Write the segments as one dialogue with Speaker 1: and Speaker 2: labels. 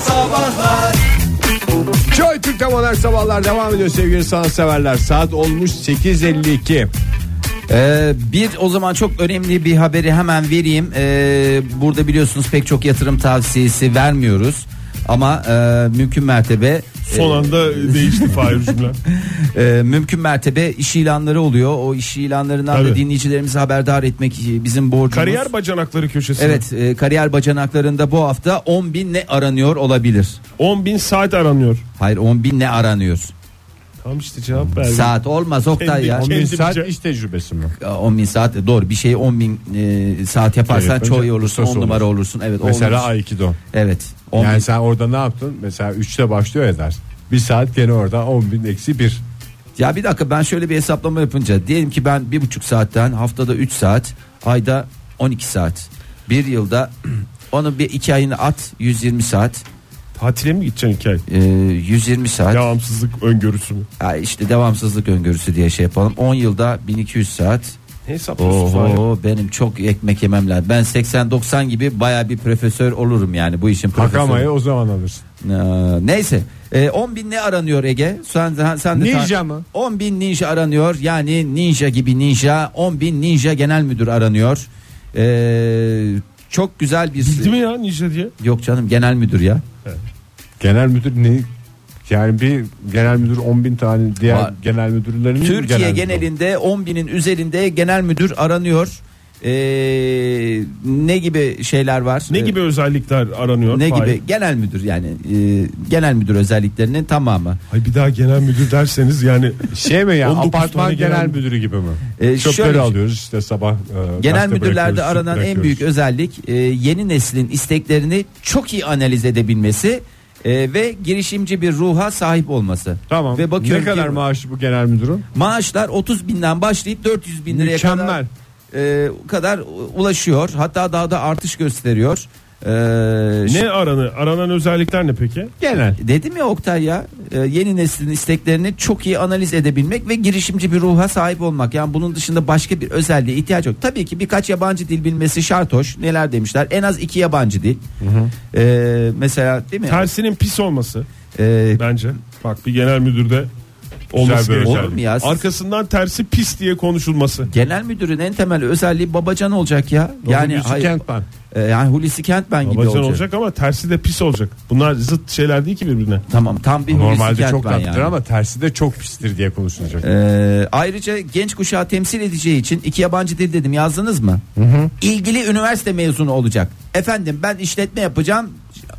Speaker 1: Sabahlar
Speaker 2: Joy Türk'te modern sabahlar devam ediyor sevgili sanatseverler. Saat olmuş 8.52.
Speaker 3: Ee, bir o zaman çok önemli bir haberi hemen vereyim. Ee, burada biliyorsunuz pek çok yatırım tavsiyesi vermiyoruz. Ama e, mümkün mertebe
Speaker 4: Son anda değişti Fahir cümle.
Speaker 3: e, mümkün mertebe iş ilanları oluyor. O iş ilanlarından da
Speaker 4: Tabii.
Speaker 3: dinleyicilerimizi haberdar etmek bizim borcumuz.
Speaker 4: Kariyer bacanakları köşesi.
Speaker 3: Evet, e, kariyer bacanaklarında bu hafta 10 bin ne aranıyor olabilir.
Speaker 4: 10 bin saat aranıyor.
Speaker 3: Hayır 10 bin ne aranıyor.
Speaker 4: Tam işte cevap verdim.
Speaker 3: Saat olmaz Oktay
Speaker 4: Kendi-
Speaker 3: ya.
Speaker 2: 10
Speaker 4: Kendi
Speaker 2: bin saat
Speaker 4: bize-
Speaker 2: iş tecrübesi mi?
Speaker 3: 10 bin saat doğru bir şey 10 bin e, saat yaparsan
Speaker 2: Evet,
Speaker 3: çoğu
Speaker 2: önce
Speaker 3: iyi olursun
Speaker 2: ustası
Speaker 3: 10 numara olursun. Evet,
Speaker 2: Mesela
Speaker 3: olursun.
Speaker 2: Aikido.
Speaker 3: Evet. 10
Speaker 2: Yani
Speaker 3: bin-
Speaker 2: sen orada ne yaptın? Mesela 3'te başlıyor ya ders. Bir saat gene orada 10 bin eksi 1.
Speaker 3: Ya bir dakika ben şöyle bir hesaplama yapınca diyelim ki ben bir buçuk saatten haftada 3 saat ayda 12 saat bir yılda onu bir iki ayını at 120 saat
Speaker 4: Tatile mi gideceksin hikaye?
Speaker 3: e, 120 saat
Speaker 4: Devamsızlık öngörüsü mü?
Speaker 3: Ha işte devamsızlık öngörüsü diye şey yapalım 10 yılda 1200 saat
Speaker 4: Ne hesaplıyorsun Fahir?
Speaker 3: Oho benim çok ekmek yemem lazım. Ben 80-90 gibi baya bir profesör olurum yani bu işin
Speaker 2: Hakamayı
Speaker 3: profesörü.
Speaker 2: o zaman alırsın.
Speaker 3: Ee, neyse. Ee, 10 bin ne aranıyor Ege? Sen, sen, sen de
Speaker 2: Ninja
Speaker 3: ta-
Speaker 2: mı?
Speaker 3: 10 bin ninja aranıyor. Yani ninja gibi ninja. 10 bin ninja genel müdür aranıyor. Ee, çok güzel bir...
Speaker 4: Bildi mi ya Ninja diye?
Speaker 3: Yok canım genel müdür ya.
Speaker 2: Genel müdür ne? Yani bir genel müdür 10 bin tane diğer
Speaker 3: Var.
Speaker 2: genel müdürlerin
Speaker 3: Türkiye
Speaker 2: genel müdürü.
Speaker 3: genelinde 10 binin üzerinde genel müdür aranıyor. Ee, ne gibi şeyler var?
Speaker 4: Ne
Speaker 3: Ee,
Speaker 4: gibi özellikler aranıyor?
Speaker 3: Ne
Speaker 4: Fahir?
Speaker 3: gibi? Genel müdür yani. e, genel müdür özelliklerinin tamamı.
Speaker 4: Ay bir daha genel müdür derseniz yani
Speaker 2: Şey mi ya
Speaker 4: 19
Speaker 2: apartman
Speaker 4: tane genel
Speaker 2: genel, müdürü gibi mi?
Speaker 3: E,
Speaker 2: Çöpleri
Speaker 3: şöyle-
Speaker 4: şey.
Speaker 2: alıyoruz işte sabah. e,
Speaker 3: Genel
Speaker 2: gazete bırakıyoruz,
Speaker 3: müdürlerde aranan en
Speaker 2: bırakıyoruz.
Speaker 3: büyük özellik e, yeni neslin isteklerini çok iyi analiz edebilmesi e, ve girişimci bir ruha sahip olması.
Speaker 2: Tamam.
Speaker 3: Ve
Speaker 2: ne
Speaker 3: bakıyorum
Speaker 2: kadar
Speaker 3: ki
Speaker 2: maaşı bu genel müdürün?
Speaker 3: maaşlar 30 binden başlayıp 400 bin liraya
Speaker 2: Mükemmel.
Speaker 3: kadar, e, kadar ulaşıyor. Hatta daha da artış gösteriyor. E,
Speaker 4: ne aranı? Aranan özellikler ne peki?
Speaker 2: Genel.
Speaker 3: Dedim ya Oktay ya e, yeni neslin isteklerini çok iyi analiz edebilmek ve girişimci bir ruha sahip olmak. Yani bunun dışında başka bir özelliğe ihtiyaç yok. Tabii ki birkaç yabancı dil bilmesi şart hoş. Neler demişler? En az iki yabancı dil. E, mesela değil mi?
Speaker 4: Tersinin pis olması
Speaker 3: E,
Speaker 4: bence. Bak bir genel müdürde olması
Speaker 2: bir
Speaker 4: gereken.
Speaker 3: özellik. Olur mu ya? Siz-
Speaker 4: Arkasından tersi pis diye konuşulması.
Speaker 3: genel müdürün en temel özelliği babacan olacak ya. Yani
Speaker 2: Yani
Speaker 3: hayır,
Speaker 2: Kentman.
Speaker 3: e, yani Hulusi Kentmen gibi
Speaker 4: Babacan
Speaker 3: olacak.
Speaker 4: olacak ama tersi de pis olacak. Bunlar zıt şeyler değil ki birbirine.
Speaker 3: Tamam tam bir Hulusi
Speaker 2: Normalde
Speaker 3: Kentmen
Speaker 2: çok tatlıdır
Speaker 3: yani.
Speaker 2: ama tersi de çok pistir diye konuşulacak.
Speaker 3: Ee, ayrıca genç kuşağı temsil edeceği için iki yabancı dil dedim yazdınız mı? İlgili üniversite mezunu olacak. Efendim ben işletme yapacağım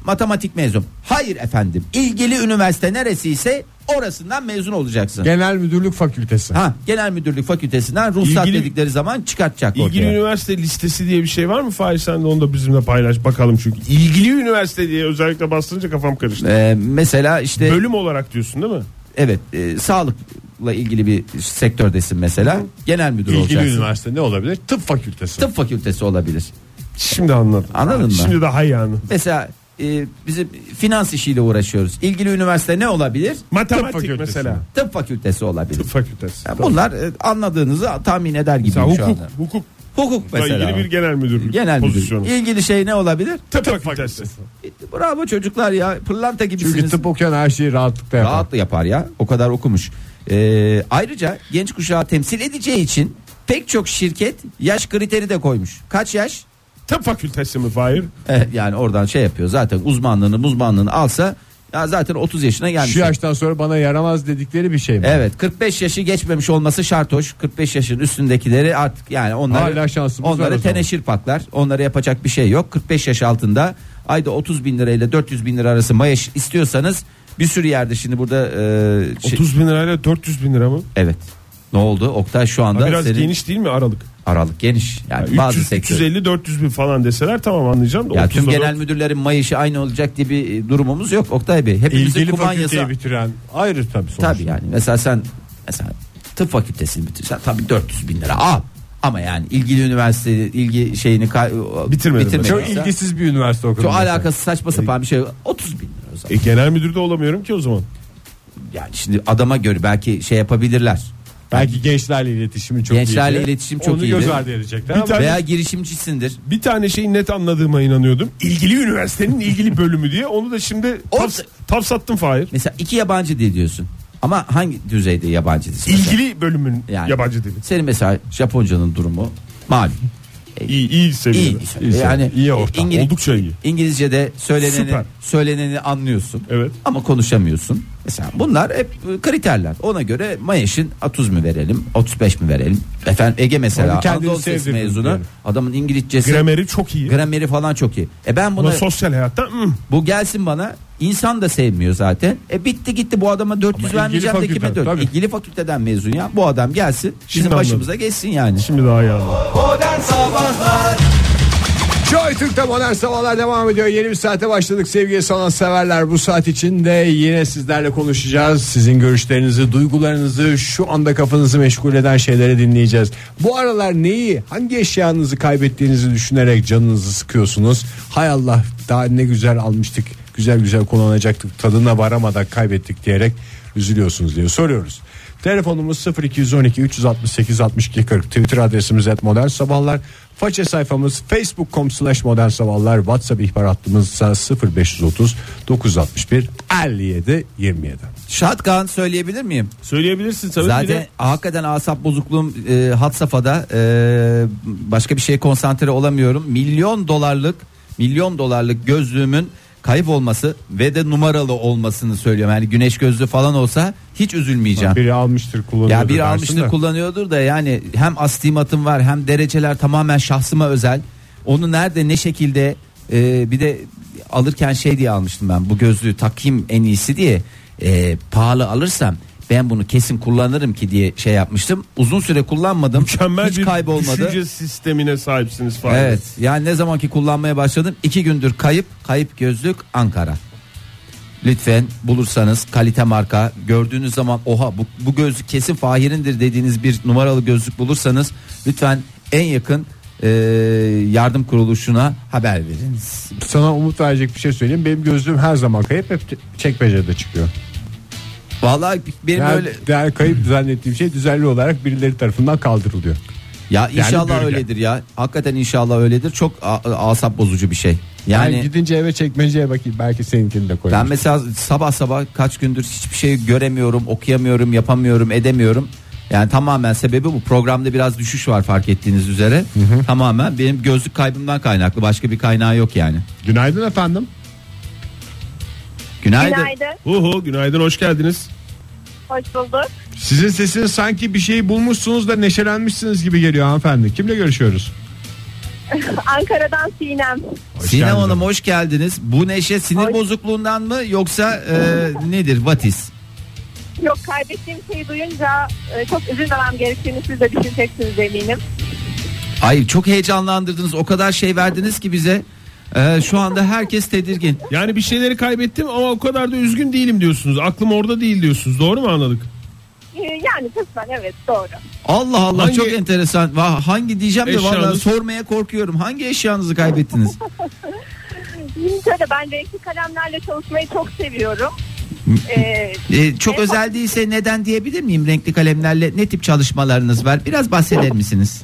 Speaker 3: matematik mezun. Hayır efendim ilgili üniversite neresiyse orasından mezun olacaksın.
Speaker 2: Genel müdürlük fakültesi.
Speaker 3: ha genel müdürlük fakültesinden ruhsat
Speaker 4: İlgili-
Speaker 3: dedikleri zaman çıkartacak
Speaker 4: İlgili
Speaker 3: ortaya.
Speaker 4: üniversite listesi diye bir şey var mı Fahir sen de onu da bizimle paylaş bakalım çünkü. İlgili üniversite diye özellikle bastırınca kafam karıştı. E-
Speaker 3: Ee, mesela işte
Speaker 4: Bölüm olarak diyorsun değil mi?
Speaker 3: evet e, sağlıkla ilgili bir sektördesin mesela genel müdür
Speaker 2: İlgili
Speaker 3: olacaksın.
Speaker 2: üniversite ne olabilir? Tıp fakültesi.
Speaker 3: Tıp fakültesi olabilir.
Speaker 4: Şimdi anladım.
Speaker 3: Anladın mı?
Speaker 4: Şimdi daha iyi anladım.
Speaker 3: Mesela e, bizim finans işiyle uğraşıyoruz. İlgili üniversite ne olabilir?
Speaker 2: Tıp
Speaker 4: Matematik
Speaker 2: fakültesi.
Speaker 4: mesela.
Speaker 3: Tıp fakültesi olabilir.
Speaker 4: Tıp fakültesi.
Speaker 3: Ya bunlar e, anladığınızı tahmin eder gibi
Speaker 4: Mesela
Speaker 3: şu
Speaker 4: hukuk,
Speaker 3: anda.
Speaker 4: hukuk
Speaker 3: Hukuk mesela.
Speaker 4: ilgili bir genel müdürlük
Speaker 3: Genel müdür.
Speaker 4: pozisyonu.
Speaker 3: İlgili şey ne olabilir?
Speaker 4: Tıp, fakültesi.
Speaker 3: E, Bravo çocuklar ya. Pırlanta gibisiniz.
Speaker 2: Çünkü tıp okuyan her şeyi rahatlıkla yapar.
Speaker 3: Rahat yapar ya. O kadar okumuş. E, ayrıca genç kuşağı temsil edeceği için pek çok şirket yaş kriteri de koymuş. Kaç yaş?
Speaker 4: Tıp fakültesi mi Fahir?
Speaker 3: Eh, yani oradan şey yapıyor. Zaten uzmanlığını uzmanlığını alsa ya zaten 30 yaşına gelmiş.
Speaker 2: Şu yaştan sonra bana yaramaz dedikleri bir şey mi?
Speaker 3: Evet 45 yaşı geçmemiş olması şart hoş. 45 yaşın üstündekileri artık yani onları
Speaker 2: Hala şansımız var o
Speaker 3: onları
Speaker 2: zaman.
Speaker 3: teneşir paklar. Onlara yapacak bir şey yok. 45 yaş altında ayda 30 bin lirayla 400 bin lira arası maaş istiyorsanız bir sürü yerde şimdi burada e, şey-
Speaker 4: 30 bin lirayla 400 bin lira mı?
Speaker 3: evet. Ne oldu? Oktay şu anda
Speaker 4: Biraz
Speaker 3: senin
Speaker 4: geniş değil mi aralık?
Speaker 3: aralık geniş. Yani bazı
Speaker 4: 300,
Speaker 3: sektör.
Speaker 4: 350 400 bin falan deseler tamam anlayacağım da.
Speaker 3: Ya tüm
Speaker 4: 30'da
Speaker 3: genel müdürlerin maaşı aynı olacak diye bir e, durumumuz yok Oktay Bey. Hepimizin
Speaker 2: İlgili
Speaker 3: kumanyası
Speaker 2: fakülteyi bitiren ayrı tabii sonuçta.
Speaker 3: Tabii yani mesela sen mesela tıp fakültesini bitirsen tabii 400 bin lira al. Ama yani ilgili üniversite ilgi şeyini ka-
Speaker 4: Bitirmedim
Speaker 3: bitirmediysen-
Speaker 2: Çok ilgisiz bir üniversite okudum.
Speaker 3: Çok
Speaker 2: mesela.
Speaker 3: alakası saçma sapan bir şey 30 bin lira o zaman.
Speaker 4: E, genel müdür de olamıyorum ki o zaman.
Speaker 3: Yani şimdi adama göre belki şey yapabilirler.
Speaker 2: Belki gençlerle iletişimi çok
Speaker 3: Gençlerle
Speaker 2: iyiydi.
Speaker 3: iletişim çok
Speaker 2: Onu
Speaker 3: iyiydi.
Speaker 2: göz ardı edecekler.
Speaker 4: Bir
Speaker 2: ama-
Speaker 4: tane-
Speaker 3: Veya girişimcisindir.
Speaker 4: Bir tane şeyi net anladığıma inanıyordum. İlgili üniversitenin ilgili bölümü diye. Onu da şimdi
Speaker 3: O-
Speaker 4: taps, tapsattım Fahir.
Speaker 3: Mesela iki yabancı dil diyorsun. Ama hangi düzeyde yabancı dil?
Speaker 4: İlgili bölümün
Speaker 3: Yani.
Speaker 4: yabancı dili.
Speaker 3: Senin mesela Japoncanın durumu malum.
Speaker 4: İyi, iyi seviyede.
Speaker 3: İyi.
Speaker 2: İyi
Speaker 3: yani
Speaker 2: sev- iyi ortam, oldukça iyi.
Speaker 3: İngilizce'de söyleneni
Speaker 4: Süper.
Speaker 3: söyleneni anlıyorsun.
Speaker 4: Evet.
Speaker 3: Ama konuşamıyorsun. Mesela bunlar hep e, kriterler. Ona göre Mayeş'in 30 mi verelim, 35 mi verelim? Efendim Ege mesela
Speaker 2: Yani kendini
Speaker 3: Anadolu Lisesi
Speaker 2: sevdirdin
Speaker 3: mezunu.
Speaker 2: yani.
Speaker 3: Adamın İngilizcesi,
Speaker 4: Grameri çok iyi.
Speaker 3: grameri falan çok iyi. E ben
Speaker 4: Ama
Speaker 3: buna
Speaker 4: sosyal hayatta hmm,
Speaker 3: bu gelsin bana. İnsan da sevmiyor zaten. E bitti gitti bu adama 400
Speaker 2: ilgili
Speaker 3: vermeyeceğim de kime
Speaker 2: fakülten,
Speaker 3: 4?
Speaker 2: tabii.
Speaker 3: İlgili fakülteden mezun ya. Bu adam gelsin.
Speaker 4: Şimdi
Speaker 3: Bizim
Speaker 4: anladım.
Speaker 3: başımıza geçsin yani.
Speaker 4: şimdi daha iyi anladım.
Speaker 2: Joy Türk'te modern sabahlar devam ediyor. Yeni bir saate başladık sevgili sanatseverler. Bu saat içinde yine sizlerle konuşacağız. Sizin görüşlerinizi, duygularınızı, şu anda kafanızı meşgul eden şeyleri dinleyeceğiz. Bu aralar neyi, hangi eşyanızı kaybettiğinizi düşünerek canınızı sıkıyorsunuz? Hay Allah daha ne güzel almıştık, güzel güzel kullanacaktık, tadına varamadan kaybettik diyerek üzülüyorsunuz diye soruyoruz. Telefonumuz 0212 368 62 40 Twitter adresimiz et modern sabahlar Faça sayfamız facebook.com slash modern sabahlar Whatsapp ihbar hattımız 0530 961 57 27
Speaker 3: Shotgun söyleyebilir miyim?
Speaker 4: Söyleyebilirsin tabii.
Speaker 3: Zaten
Speaker 4: Zaten...
Speaker 3: hakikaten asap bozukluğum e, had safhada e, başka bir şeye konsantre olamıyorum. Milyon dolarlık milyon dolarlık gözlüğümün kayıp olması ve de numaralı olmasını söylüyorum. Yani güneş gözlüğü falan olsa hiç üzülmeyeceğim.
Speaker 2: Biri almıştır kullanıyordur
Speaker 3: Ya bir
Speaker 2: dersin
Speaker 3: almıştır
Speaker 2: de.
Speaker 3: kullanıyordur da yani hem astigmatım var hem dereceler tamamen şahsıma özel. Onu nerede ne şekilde e, bir de alırken şey diye almıştım ben bu gözlüğü takayım en iyisi diye E, pahalı alırsam ben bunu kesin kullanırım ki diye şey yapmıştım. Uzun süre kullanmadım.
Speaker 4: Mükemmel
Speaker 3: Hiç
Speaker 4: bir
Speaker 3: kaybolmadı.
Speaker 4: düşünce sistemine sahipsiniz Fahir.
Speaker 3: Evet yani ne zamanki kullanmaya başladım iki gündür kayıp kayıp gözlük Ankara. Lütfen bulursanız kalite marka gördüğünüz zaman oha bu, bu gözlük kesin Fahir'indir dediğiniz bir numaralı gözlük bulursanız lütfen en yakın eee, yardım kuruluşuna haber veriniz.
Speaker 2: Sana umut verecek bir şey söyleyeyim Benim gözlüğüm her zaman kayıp hep çekmecede çıkıyor
Speaker 3: Vallahi benim
Speaker 2: yani,
Speaker 3: öyle
Speaker 2: yani kayıp zannettiğim şey düzenli olarak birileri tarafından kaldırılıyor
Speaker 3: ya inşallah
Speaker 2: bölge.
Speaker 3: öyledir ya. Hakikaten inşallah öyledir. Çok a- a- asap bozucu bir şey.
Speaker 2: yani,
Speaker 3: Yani
Speaker 2: gidince eve çekmeceye bakayım belki seninkini de koymuş
Speaker 3: Ben mesela sabah sabah kaç gündür hiçbir şey göremiyorum, okuyamıyorum, yapamıyorum, edemiyorum. Yani tamamen sebebi bu. Programda biraz düşüş var fark ettiğiniz üzere. Tamamen benim gözlük kaybımdan kaynaklı. Başka bir kaynağı yok yani.
Speaker 2: Günaydın efendim
Speaker 3: Günaydın.
Speaker 1: Günaydın.
Speaker 4: Uhu, günaydın hoş geldiniz.
Speaker 1: Hoş bulduk.
Speaker 2: Sizin sesiniz sanki bir şey bulmuşsunuz da neşelenmişsiniz gibi geliyor hanımefendi. Kimle görüşüyoruz?
Speaker 1: Ankara'dan Sinem.
Speaker 2: Hoş
Speaker 3: Sinem
Speaker 2: geldin.
Speaker 3: Hanım hoş geldiniz. Bu neşe sinir
Speaker 1: Hoş-
Speaker 3: bozukluğundan mı yoksa e, nedir? Vatis.
Speaker 1: Yok kaybettiğim şeyi duyunca e, çok üzülmemem gerektiğini siz de düşüneceksiniz eminim.
Speaker 3: Ay çok heyecanlandırdınız. O kadar şey verdiniz ki bize. E, şu anda herkes tedirgin.
Speaker 4: Yani bir şeyleri kaybettim ama o kadar da üzgün değilim diyorsunuz. Aklım orada değil diyorsunuz. Doğru mu anladık?
Speaker 1: E, Yani kısmen evet doğru.
Speaker 3: Allah Allah
Speaker 4: Hangi-
Speaker 3: çok enteresan. Va- Hangi diyeceğim de vallahi
Speaker 4: Eşyanız-
Speaker 3: sormaya korkuyorum. Hangi eşyanızı kaybettiniz?
Speaker 1: Şimdi şöyle ben renkli kalemlerle çalışmayı çok seviyorum. E,
Speaker 3: Ee, çok
Speaker 1: En
Speaker 3: özel değilse neden diyebilir miyim? Renkli kalemlerle ne tip çalışmalarınız var? Biraz bahseder misiniz?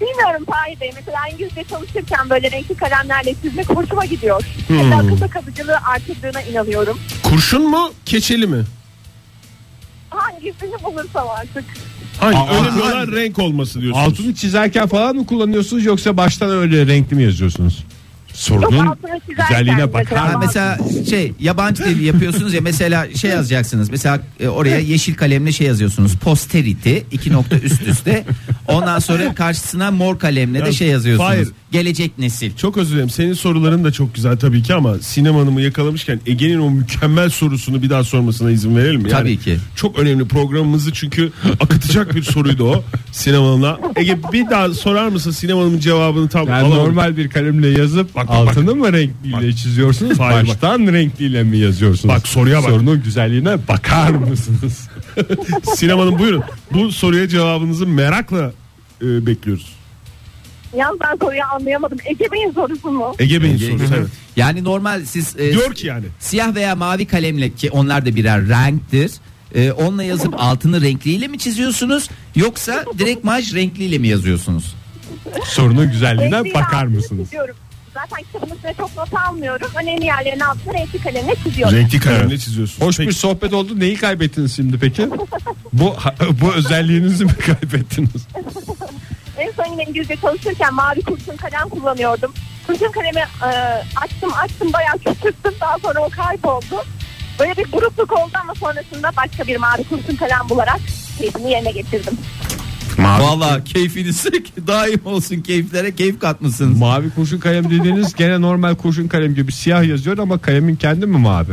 Speaker 1: bilmiyorum Fahir Bey mesela İngilizce çalışırken böyle renkli kalemlerle çizmek hoşuma gidiyor. Hatta akılda kalıcılığı artırdığına inanıyorum.
Speaker 4: Kurşun mu keçeli mi?
Speaker 1: Hangisini bulursam artık.
Speaker 4: Hayır
Speaker 2: Aa,
Speaker 4: önemli
Speaker 2: aa,
Speaker 4: olan renk olması diyorsunuz.
Speaker 2: Altını çizerken falan mı kullanıyorsunuz yoksa baştan öyle renkli mi yazıyorsunuz?
Speaker 1: Yok,
Speaker 2: Sorunun
Speaker 1: altını çizerken
Speaker 2: güzelliğine
Speaker 1: mesela-
Speaker 2: bakar
Speaker 3: Ha,
Speaker 1: Tamam.
Speaker 3: mesela şey yabancı dil yapıyorsunuz ya mesela şey yazacaksınız. Mesela e, oraya yeşil kalemle şey yazıyorsunuz. Posterity iki nokta üst üste. Ondan sonra karşısına mor kalemle de
Speaker 4: Ya,
Speaker 3: şey yazıyorsunuz.
Speaker 4: Fahir.
Speaker 3: Gelecek nesil.
Speaker 4: Çok özür dilerim. Senin soruların da çok güzel tabii ki ama Sinem Hanım'ı yakalamışken Ege'nin o mükemmel sorusunu bir daha sormasına izin verelim mi?
Speaker 3: Tabii ki.
Speaker 4: Çok önemli programımızı çünkü akıtacak bir soruydu o Sinem Hanım'la. Ege bir daha sorar mısın Sinem Hanım'ın cevabını tam
Speaker 2: Yani
Speaker 4: alamadım.
Speaker 2: normal bir kalemle yazıp
Speaker 4: Bak, bak,
Speaker 2: altını mı renkliyle çiziyorsunuz?
Speaker 4: Hayır, bak.
Speaker 2: baştan renkliyle mi yazıyorsunuz?
Speaker 4: Bak, soruya bak.
Speaker 2: Sorunun güzelliğine bakar mısınız?
Speaker 4: Sinem Hanım buyurun. Bu soruya cevabınızı merakla e, bekliyoruz.
Speaker 1: Yalnız ben soruyu anlayamadım. Ege Bey'in sorusu mu?
Speaker 4: Ege Bey'in sorusu evet.
Speaker 3: Yani normal siz e,
Speaker 4: Diyor ki yani.
Speaker 3: Siyah veya mavi kalemle ki onlar da birer renktir. e, onunla yazıp altını renkliyle mi çiziyorsunuz yoksa direkt maj renkliyle mi yazıyorsunuz?
Speaker 5: Sorunun güzelliğine
Speaker 1: Renkli
Speaker 5: bakar
Speaker 1: altını
Speaker 5: mısınız?
Speaker 1: çiziyorum. Zaten kitabın üstüne çok not almıyorum. Önemli yerlerin altına renkli kalemle çiziyorum.
Speaker 4: Renkli kalemle çiziyorsun.
Speaker 5: Hoş bir sohbet oldu. Neyi kaybettiniz şimdi peki? bu bu özelliğinizi mi kaybettiniz?
Speaker 1: En son yine İngilizce çalışırken mavi kurşun kalem kullanıyordum. Kurşun kalemi e, açtım açtım bayağı küçülttüm. Daha sonra o kayboldu. Böyle bir burukluk oldu ama sonrasında başka bir mavi kurşun kalem bularak keyfini yerine getirdim.
Speaker 3: Valla keyfiniz daim olsun keyiflere keyif katmışsınız.
Speaker 5: Mavi kurşun kalem dediğiniz gene normal kurşun kalem gibi siyah yazıyor ama kalemin kendi mi mavi?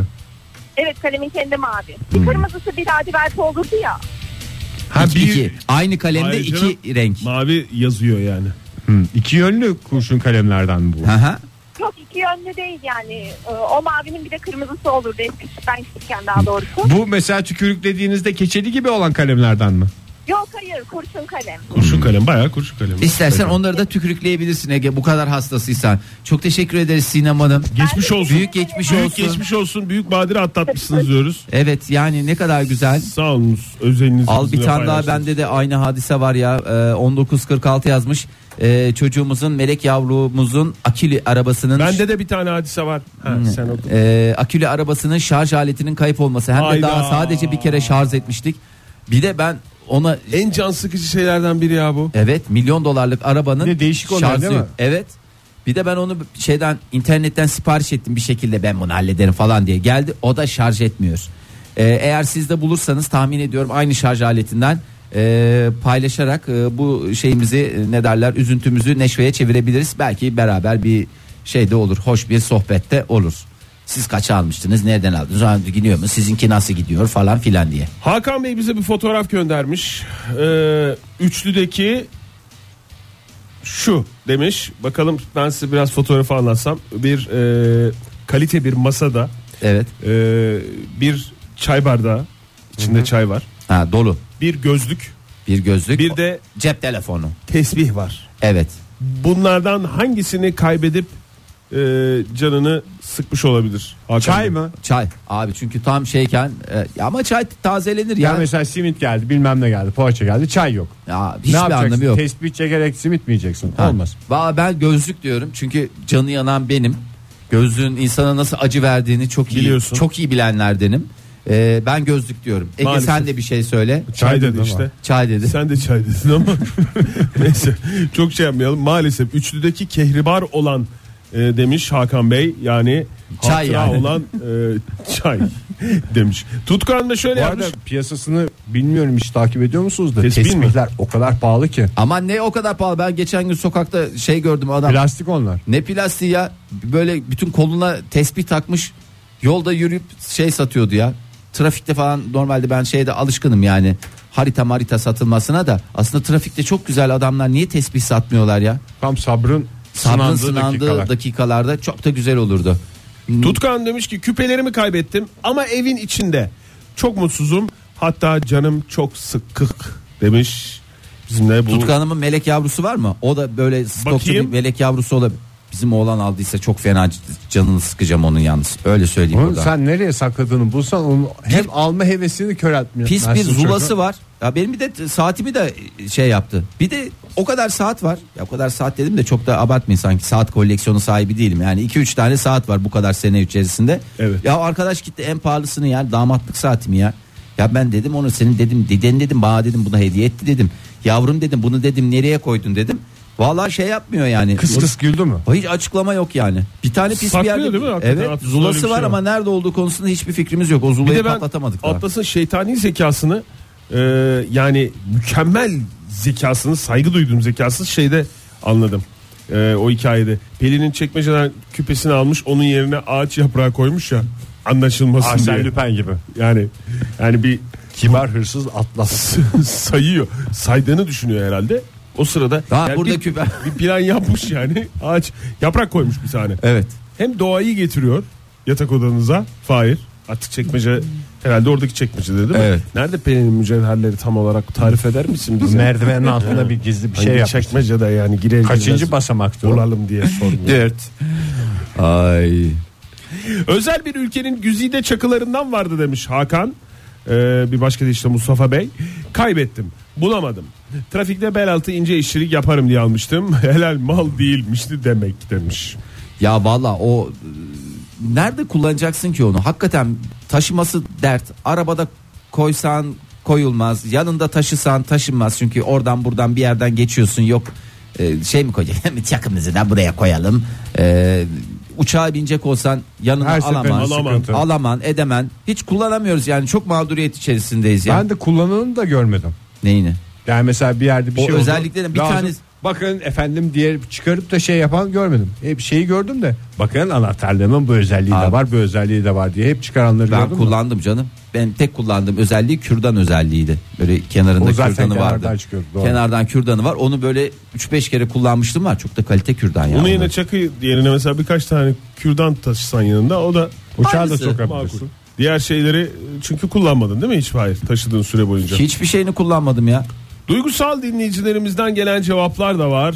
Speaker 1: Evet kalemin kendi mavi. Bir kırmızısı bir lacivert olurdu ya.
Speaker 5: Ha
Speaker 3: İki-
Speaker 5: bir
Speaker 3: iki. Aynı kalemde
Speaker 4: Hayır
Speaker 3: iki
Speaker 4: canım.
Speaker 3: renk.
Speaker 4: Mavi yazıyor yani.
Speaker 5: Hı, iki yönlü kurşun kalemlerden mi bu.
Speaker 3: Aha.
Speaker 1: Çok iki yönlü değil yani. E, o mavinin bir de kırmızısı olurdu. Eskisi ben küçükken daha doğrusu.
Speaker 5: Bu mesela tükürük dediğinizde keçeli gibi olan kalemlerden mi?
Speaker 1: Yok hayır kurşun kalem.
Speaker 3: Hmm.
Speaker 4: Kurşun kalem bayağı kurşun kalem.
Speaker 3: İstersen onları da tükürükleyebilirsin Ege bu kadar hastasıysan. Çok teşekkür ederiz Sinem Hanım.
Speaker 4: Geçmiş olsun.
Speaker 3: Büyük geçmiş
Speaker 4: Büyük
Speaker 3: olsun.
Speaker 4: geçmiş olsun. Büyük badire atlatmışsınız diyoruz.
Speaker 3: Evet yani ne kadar güzel.
Speaker 4: Sağ olunuz. Özelinizi
Speaker 3: Al bir
Speaker 4: bizimle
Speaker 3: tane daha
Speaker 4: paylaştınız.
Speaker 3: bende de aynı hadise var ya Ee, 1946 yazmış Ee, çocuğumuzun melek yavrumuzun akülü arabasının
Speaker 4: Bende de bir tane hadise var. Ha, sen oku.
Speaker 3: Ee, akülü arabasının şarj aletinin kayıp olması hem de
Speaker 4: Hayda.
Speaker 3: daha sadece bir kere şarj etmiştik bir de ben ona
Speaker 4: En can sıkıcı şeylerden biri ya bu.
Speaker 3: evet milyon dolarlık arabanın
Speaker 2: Bir de değişik onlar
Speaker 3: şarjı
Speaker 2: değil
Speaker 3: yok.
Speaker 2: mi?
Speaker 3: evet bir de ben onu şeyden internetten sipariş ettim bir şekilde ben bunu hallederim falan diye geldi o da şarj etmiyor Ee, eğer siz de bulursanız tahmin ediyorum aynı şarj aletinden e, paylaşarak e, bu şeyimizi e, ne derler üzüntümüzü neşveye çevirebiliriz belki beraber bir şey de olur hoş bir sohbette olur siz kaça almıştınız nereden aldınız Ha, gidiyor mu sizinki nasıl gidiyor falan filan diye
Speaker 4: Hakan Bey bize bir fotoğraf göndermiş. Ee, üçlüdeki şu demiş. Bakalım ben size biraz fotoğrafı anlatsam. Bir e, kalite bir masada
Speaker 3: evet
Speaker 4: e, bir çay bardağı içinde çay var.
Speaker 3: ha, dolu
Speaker 4: Bir gözlük,
Speaker 3: bir gözlük
Speaker 4: bir de
Speaker 3: cep telefonu
Speaker 4: tesbih var.
Speaker 3: evet
Speaker 4: Bunlardan hangisini kaybedip e, canını sıkmış olabilir? Hakan Bey?
Speaker 2: Çay mı?
Speaker 3: Çay abi çünkü tam şeyken e, ya ama çay tazelenir
Speaker 2: Ya
Speaker 3: ya.
Speaker 2: mesela simit geldi bilmem ne geldi poğaça geldi çay yok.
Speaker 3: ya
Speaker 2: ne
Speaker 3: hiçbir
Speaker 2: yapacaksın?
Speaker 3: anlamı yok.
Speaker 2: Tespih çekerek simit mi yiyeceksin?
Speaker 3: Ha.
Speaker 2: Olmaz.
Speaker 3: Valla ben gözlük diyorum çünkü canı yanan benim. Gözlüğün insana nasıl acı verdiğini çok iyi
Speaker 4: Biliyorsun.
Speaker 3: çok iyi bilenlerdenim. E, ben gözlük diyorum. Ege
Speaker 4: Maalesef.
Speaker 3: sen de bir şey söyle.
Speaker 4: Çay dedi
Speaker 2: dedim
Speaker 4: işte.
Speaker 3: Çay dedi.
Speaker 4: Sen de çay dedin ama neyse çok şey yapmayalım. Maalesef üçlüdeki kehribar olan e, demiş Hakan Bey yani
Speaker 3: Çay
Speaker 4: hatıra
Speaker 3: yani.
Speaker 4: olan e, çay demiş. Tutkan da şöyle
Speaker 2: Bu
Speaker 4: yapmış.
Speaker 2: arada piyasasını bilmiyorum hiç takip ediyor musunuz da
Speaker 4: Tespih mi?
Speaker 2: tespihler o kadar pahalı ki.
Speaker 3: Ama ne o kadar pahalı. Ben geçen gün sokakta şey gördüm adam.
Speaker 2: Plastik onlar.
Speaker 3: Ne plastiği ya? Böyle bütün koluna tespih takmış. Yolda yürüyüp şey satıyordu ya. Trafikte falan normalde ben şeyde alışkınım yani. Harita marita satılmasına da aslında trafikte çok güzel adamlar niye tespih satmıyorlar ya?
Speaker 2: Tam sabrın
Speaker 3: Sabrın
Speaker 2: sınandığı,
Speaker 3: sınandığı
Speaker 2: dakikalar.
Speaker 3: dakikalarda çok da güzel olurdu.
Speaker 4: Tutkan demiş ki küpelerimi kaybettim ama evin içinde. Çok mutsuzum hatta canım çok sıkık demiş. Bizimle bu
Speaker 3: Tutku Hanım'ın melek yavrusu var mı? O da böyle stokçu bir
Speaker 4: Bakayım.
Speaker 3: melek yavrusu olabilir. Bizim oğlan aldıysa çok fena c- canını sıkacağım onun yalnız. Öyle söyleyeyim
Speaker 2: Oğlum
Speaker 3: burada.
Speaker 2: sen nereye sakladığını bulsan onu hem alma hevesini kör etmiyor.
Speaker 3: Pis bir zulası var. Ya benim bir de t- saatimi de şey yaptı. Bir de o kadar saat var. Ya o kadar saat dedim de çok da abartmayın sanki saat koleksiyonu sahibi değilim. Yani 2-3 tane saat var bu kadar sene içerisinde.
Speaker 4: Evet.
Speaker 3: Ya arkadaş gitti en pahalısını ya damatlık saatimi ya. Ya ben dedim onu senin dedim deden dedim bana dedim bunu hediye etti dedim. Yavrum dedim bunu dedim nereye koydun dedim. Vallahi şey yapmıyor yani.
Speaker 2: Kıs kıs güldü mü?
Speaker 3: Hiç açıklama yok yani. Bir tane pis
Speaker 4: Saklıyor
Speaker 3: bir yerde.
Speaker 4: değil mi? Hakikaten
Speaker 3: Evet.
Speaker 4: aslında öyle bir
Speaker 3: Zulası
Speaker 4: şey
Speaker 3: var
Speaker 4: var.
Speaker 3: ama nerede olduğu konusunda hiçbir fikrimiz yok. O
Speaker 4: Bir
Speaker 3: zulayı
Speaker 4: de ben
Speaker 3: patlatamadık. daha.
Speaker 4: Atlas'ın şeytani zekasını e, yani mükemmel zekasını saygı duyduğum zekasını şeyde anladım. E, o hikayede. Pelin'in çekmeceden küpesini almış onun yerine ağaç yaprağı koymuş ya anlaşılmasın
Speaker 2: Arsene
Speaker 4: diye.
Speaker 2: Lüpen gibi.
Speaker 4: Yani yani bir
Speaker 2: Kibar hırsız atlas.
Speaker 4: sayıyor. Saydığını düşünüyor herhalde. O sırada
Speaker 3: Ha,
Speaker 4: yani
Speaker 3: burada
Speaker 4: bir,
Speaker 3: küpe.
Speaker 4: bir plan yapmış yani. Ağaç yaprak koymuş bir tane.
Speaker 3: Evet.
Speaker 4: Hem doğayı getiriyor yatak odanıza. Fahir. Artık çekmece herhalde oradaki çekmece değil mi?
Speaker 3: Evet.
Speaker 4: Nerede Pelin'in mücevherleri tam olarak tarif eder misin bize?
Speaker 2: Merdivenin altında bir gizli bir
Speaker 4: Hangi
Speaker 2: şey yap.
Speaker 4: çekmecede yani girer
Speaker 2: Kaçıncı
Speaker 4: girmez
Speaker 2: basamakta o?
Speaker 4: bulalım diye sormuyor.
Speaker 3: Dört. Ay.
Speaker 4: Özel bir ülkenin güzide çakılarından vardı demiş Hakan. Ee, bir başka de işte Mustafa Bey. Kaybettim. Bulamadım. Trafikte bel altı ince işçilik yaparım diye almıştım. Helal mal değilmişti demek demiş.
Speaker 3: Ya valla o e, nerede kullanacaksın ki onu? Hakikaten taşıması dert. Arabada koysan koyulmaz. Yanında taşısan taşınmaz. Çünkü oradan buradan bir yerden geçiyorsun. Yok e, şey mi koyacaksın? Çakımızı da buraya koyalım. E, uçağa binecek olsan yanına
Speaker 2: Her seferinde
Speaker 3: alaman, alaman,
Speaker 2: sıkıntı.
Speaker 3: edemen. Hiç kullanamıyoruz yani. Çok mağduriyet içerisindeyiz ya.
Speaker 2: Ben de kullananı da görmedim.
Speaker 3: Neyini?
Speaker 2: Yani mesela bir yerde bir
Speaker 3: O
Speaker 2: şey oldu,
Speaker 3: özelliklerin bir
Speaker 2: lazım.
Speaker 3: tanesi-
Speaker 2: Bakın efendim diye çıkarıp da şey yapan görmedim. Hep şeyi gördüm de bakın anahtarlığımın bu özelliği de
Speaker 3: Abi.
Speaker 2: var bu özelliği de var diye hep çıkaranları
Speaker 3: Ben
Speaker 2: gördüm. de.
Speaker 3: kullandım canım. Ben tek kullandığım özelliği kürdan özelliğiydi. Böyle
Speaker 2: O
Speaker 3: kenarında
Speaker 2: zaten
Speaker 3: kürdanı
Speaker 2: kenardan
Speaker 3: vardı.
Speaker 2: çıkıyor, doğru.
Speaker 3: Kenardan kürdanı var. Onu böyle 3-5 kere kullanmıştım var. Çok da kalite kürdan ya.
Speaker 4: Bunu
Speaker 3: onlar.
Speaker 4: yine çakı yerine mesela birkaç tane kürdan taşısan yanında o da
Speaker 3: Uçağı da çok
Speaker 4: makul. Diğer şeyleri çünkü kullanmadın değil mi hiç hayır taşıdığın süre boyunca?
Speaker 3: Hiçbir şeyini kullanmadım ya.
Speaker 4: Duygusal dinleyicilerimizden gelen cevaplar da var.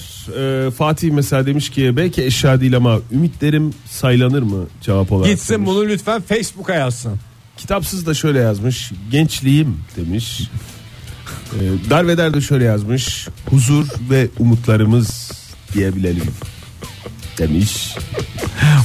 Speaker 4: Ee, Fatih mesela demiş ki belki eşya değil ama ümitlerim saylanır mı cevap olarak.
Speaker 2: Gitsin
Speaker 4: demiş.
Speaker 2: bunu lütfen Facebook'a yazsın.
Speaker 4: Kitapsız da şöyle yazmış. Gençliğim demiş. Ee, Darveder de şöyle yazmış. Huzur ve umutlarımız diyebilelim demiş.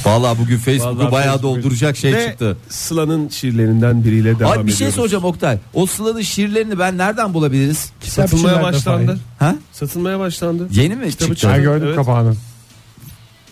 Speaker 3: Vallahi bugün Facebook'u
Speaker 4: Vallahi
Speaker 3: bayağı
Speaker 4: Facebook-
Speaker 3: dolduracak şey
Speaker 4: Ve
Speaker 3: çıktı.
Speaker 4: Sıla'nın şiirlerinden biriyle devam
Speaker 3: Ay bir şey
Speaker 4: ediyoruz.
Speaker 3: soracağım Oktay. O Sıla'nın şiirlerini ben nereden bulabiliriz?
Speaker 4: Satılmaya
Speaker 2: Kitapçılarda
Speaker 4: başlandı.
Speaker 2: Fahir.
Speaker 3: Ha?
Speaker 4: Satılmaya başlandı.
Speaker 3: Yeni mi
Speaker 4: Kitabı
Speaker 3: çıktı?
Speaker 2: Ben
Speaker 4: Evet,
Speaker 2: gördüm
Speaker 4: evet.
Speaker 2: kapağını.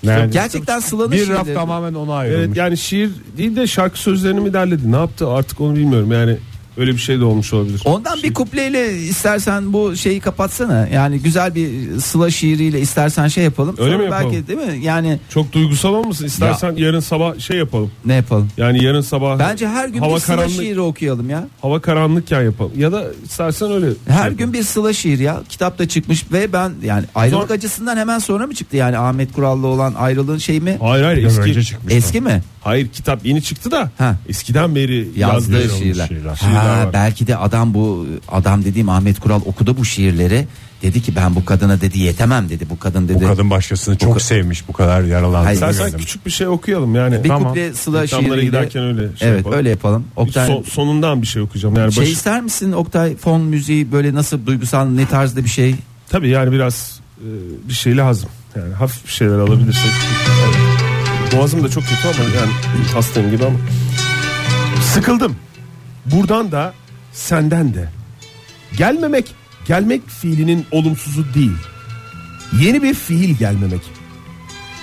Speaker 2: Yani
Speaker 3: Gerçekten Sıla'nın
Speaker 2: bir
Speaker 3: şiirleri.
Speaker 2: raf tamamen ona ayrılmış.
Speaker 4: Evet yani şiir değil de şarkı sözlerini mi derledi? Ne yaptı? Artık onu bilmiyorum. Yani öyle bir şey de olmuş olabilir.
Speaker 3: Ondan bir kupleyle istersen bu şeyi kapatsana. Yani güzel bir Sıla şiiriyle istersen şey yapalım.
Speaker 4: Öyle mi yapalım?
Speaker 3: Belki değil mi? Yani
Speaker 4: Çok duygusal olmasın. İstersen yarın sabah şey yapalım.
Speaker 3: ne yapalım?
Speaker 4: Yani yarın sabah
Speaker 3: Bence her gün
Speaker 4: hava
Speaker 3: bir sıla
Speaker 4: karanlık
Speaker 3: şiiri okuyalım ya.
Speaker 4: hava karanlıkken yapalım. Ya da istersen öyle.
Speaker 3: Her
Speaker 4: şey
Speaker 3: gün bir sıla şiir ya. Kitap da çıkmış ve ben yani ayrılık
Speaker 4: Sonra-
Speaker 3: acısından hemen sonra mı çıktı yani Ahmet Kurallı olan ayrılığın şey mi?
Speaker 4: Hayır hayır
Speaker 2: Biraz
Speaker 4: eski.
Speaker 2: önce çıkmış.
Speaker 3: Eski mi?
Speaker 4: Hayır kitap yeni çıktı da
Speaker 3: Ha.
Speaker 4: eskiden beri
Speaker 3: Yazdığı
Speaker 4: yazdığı
Speaker 3: şiirler.
Speaker 4: şiirler.
Speaker 3: Ha,
Speaker 4: var.
Speaker 3: belki de adam bu adam dediğim Ahmet Kural okudu bu şiirleri. Dedi ki ben bu kadına dedi yetemem dedi. Bu kadın dedi.
Speaker 2: Bu kadın başkasını çok sevmiş bu kadar yaralandı.
Speaker 3: Hayır.
Speaker 4: İstersen küçük bir şey okuyalım yani.
Speaker 3: bir
Speaker 4: Tamam.
Speaker 3: kuple sıla
Speaker 4: Reklamlara
Speaker 3: şiiriyle.
Speaker 4: giderken öyle şey
Speaker 3: evet
Speaker 4: yapalım.
Speaker 3: öyle yapalım.
Speaker 4: Bir
Speaker 3: Oktay
Speaker 4: son- sonundan bir şey okuyacağım. Yani
Speaker 3: şey
Speaker 4: başı-
Speaker 3: ister misin Oktay fon müziği böyle nasıl duygusal ne tarzda bir şey?
Speaker 4: Tabii yani biraz e, bir şey lazım. Yani hafif bir şeyler alabilirsek. Evet. Boğazım da çok kötü ama yani hastayım gibi ama. Sıkıldım. Buradan da senden de. Gelmemek, gelmek fiilinin olumsuzu değil. Yeni bir fiil gelmemek.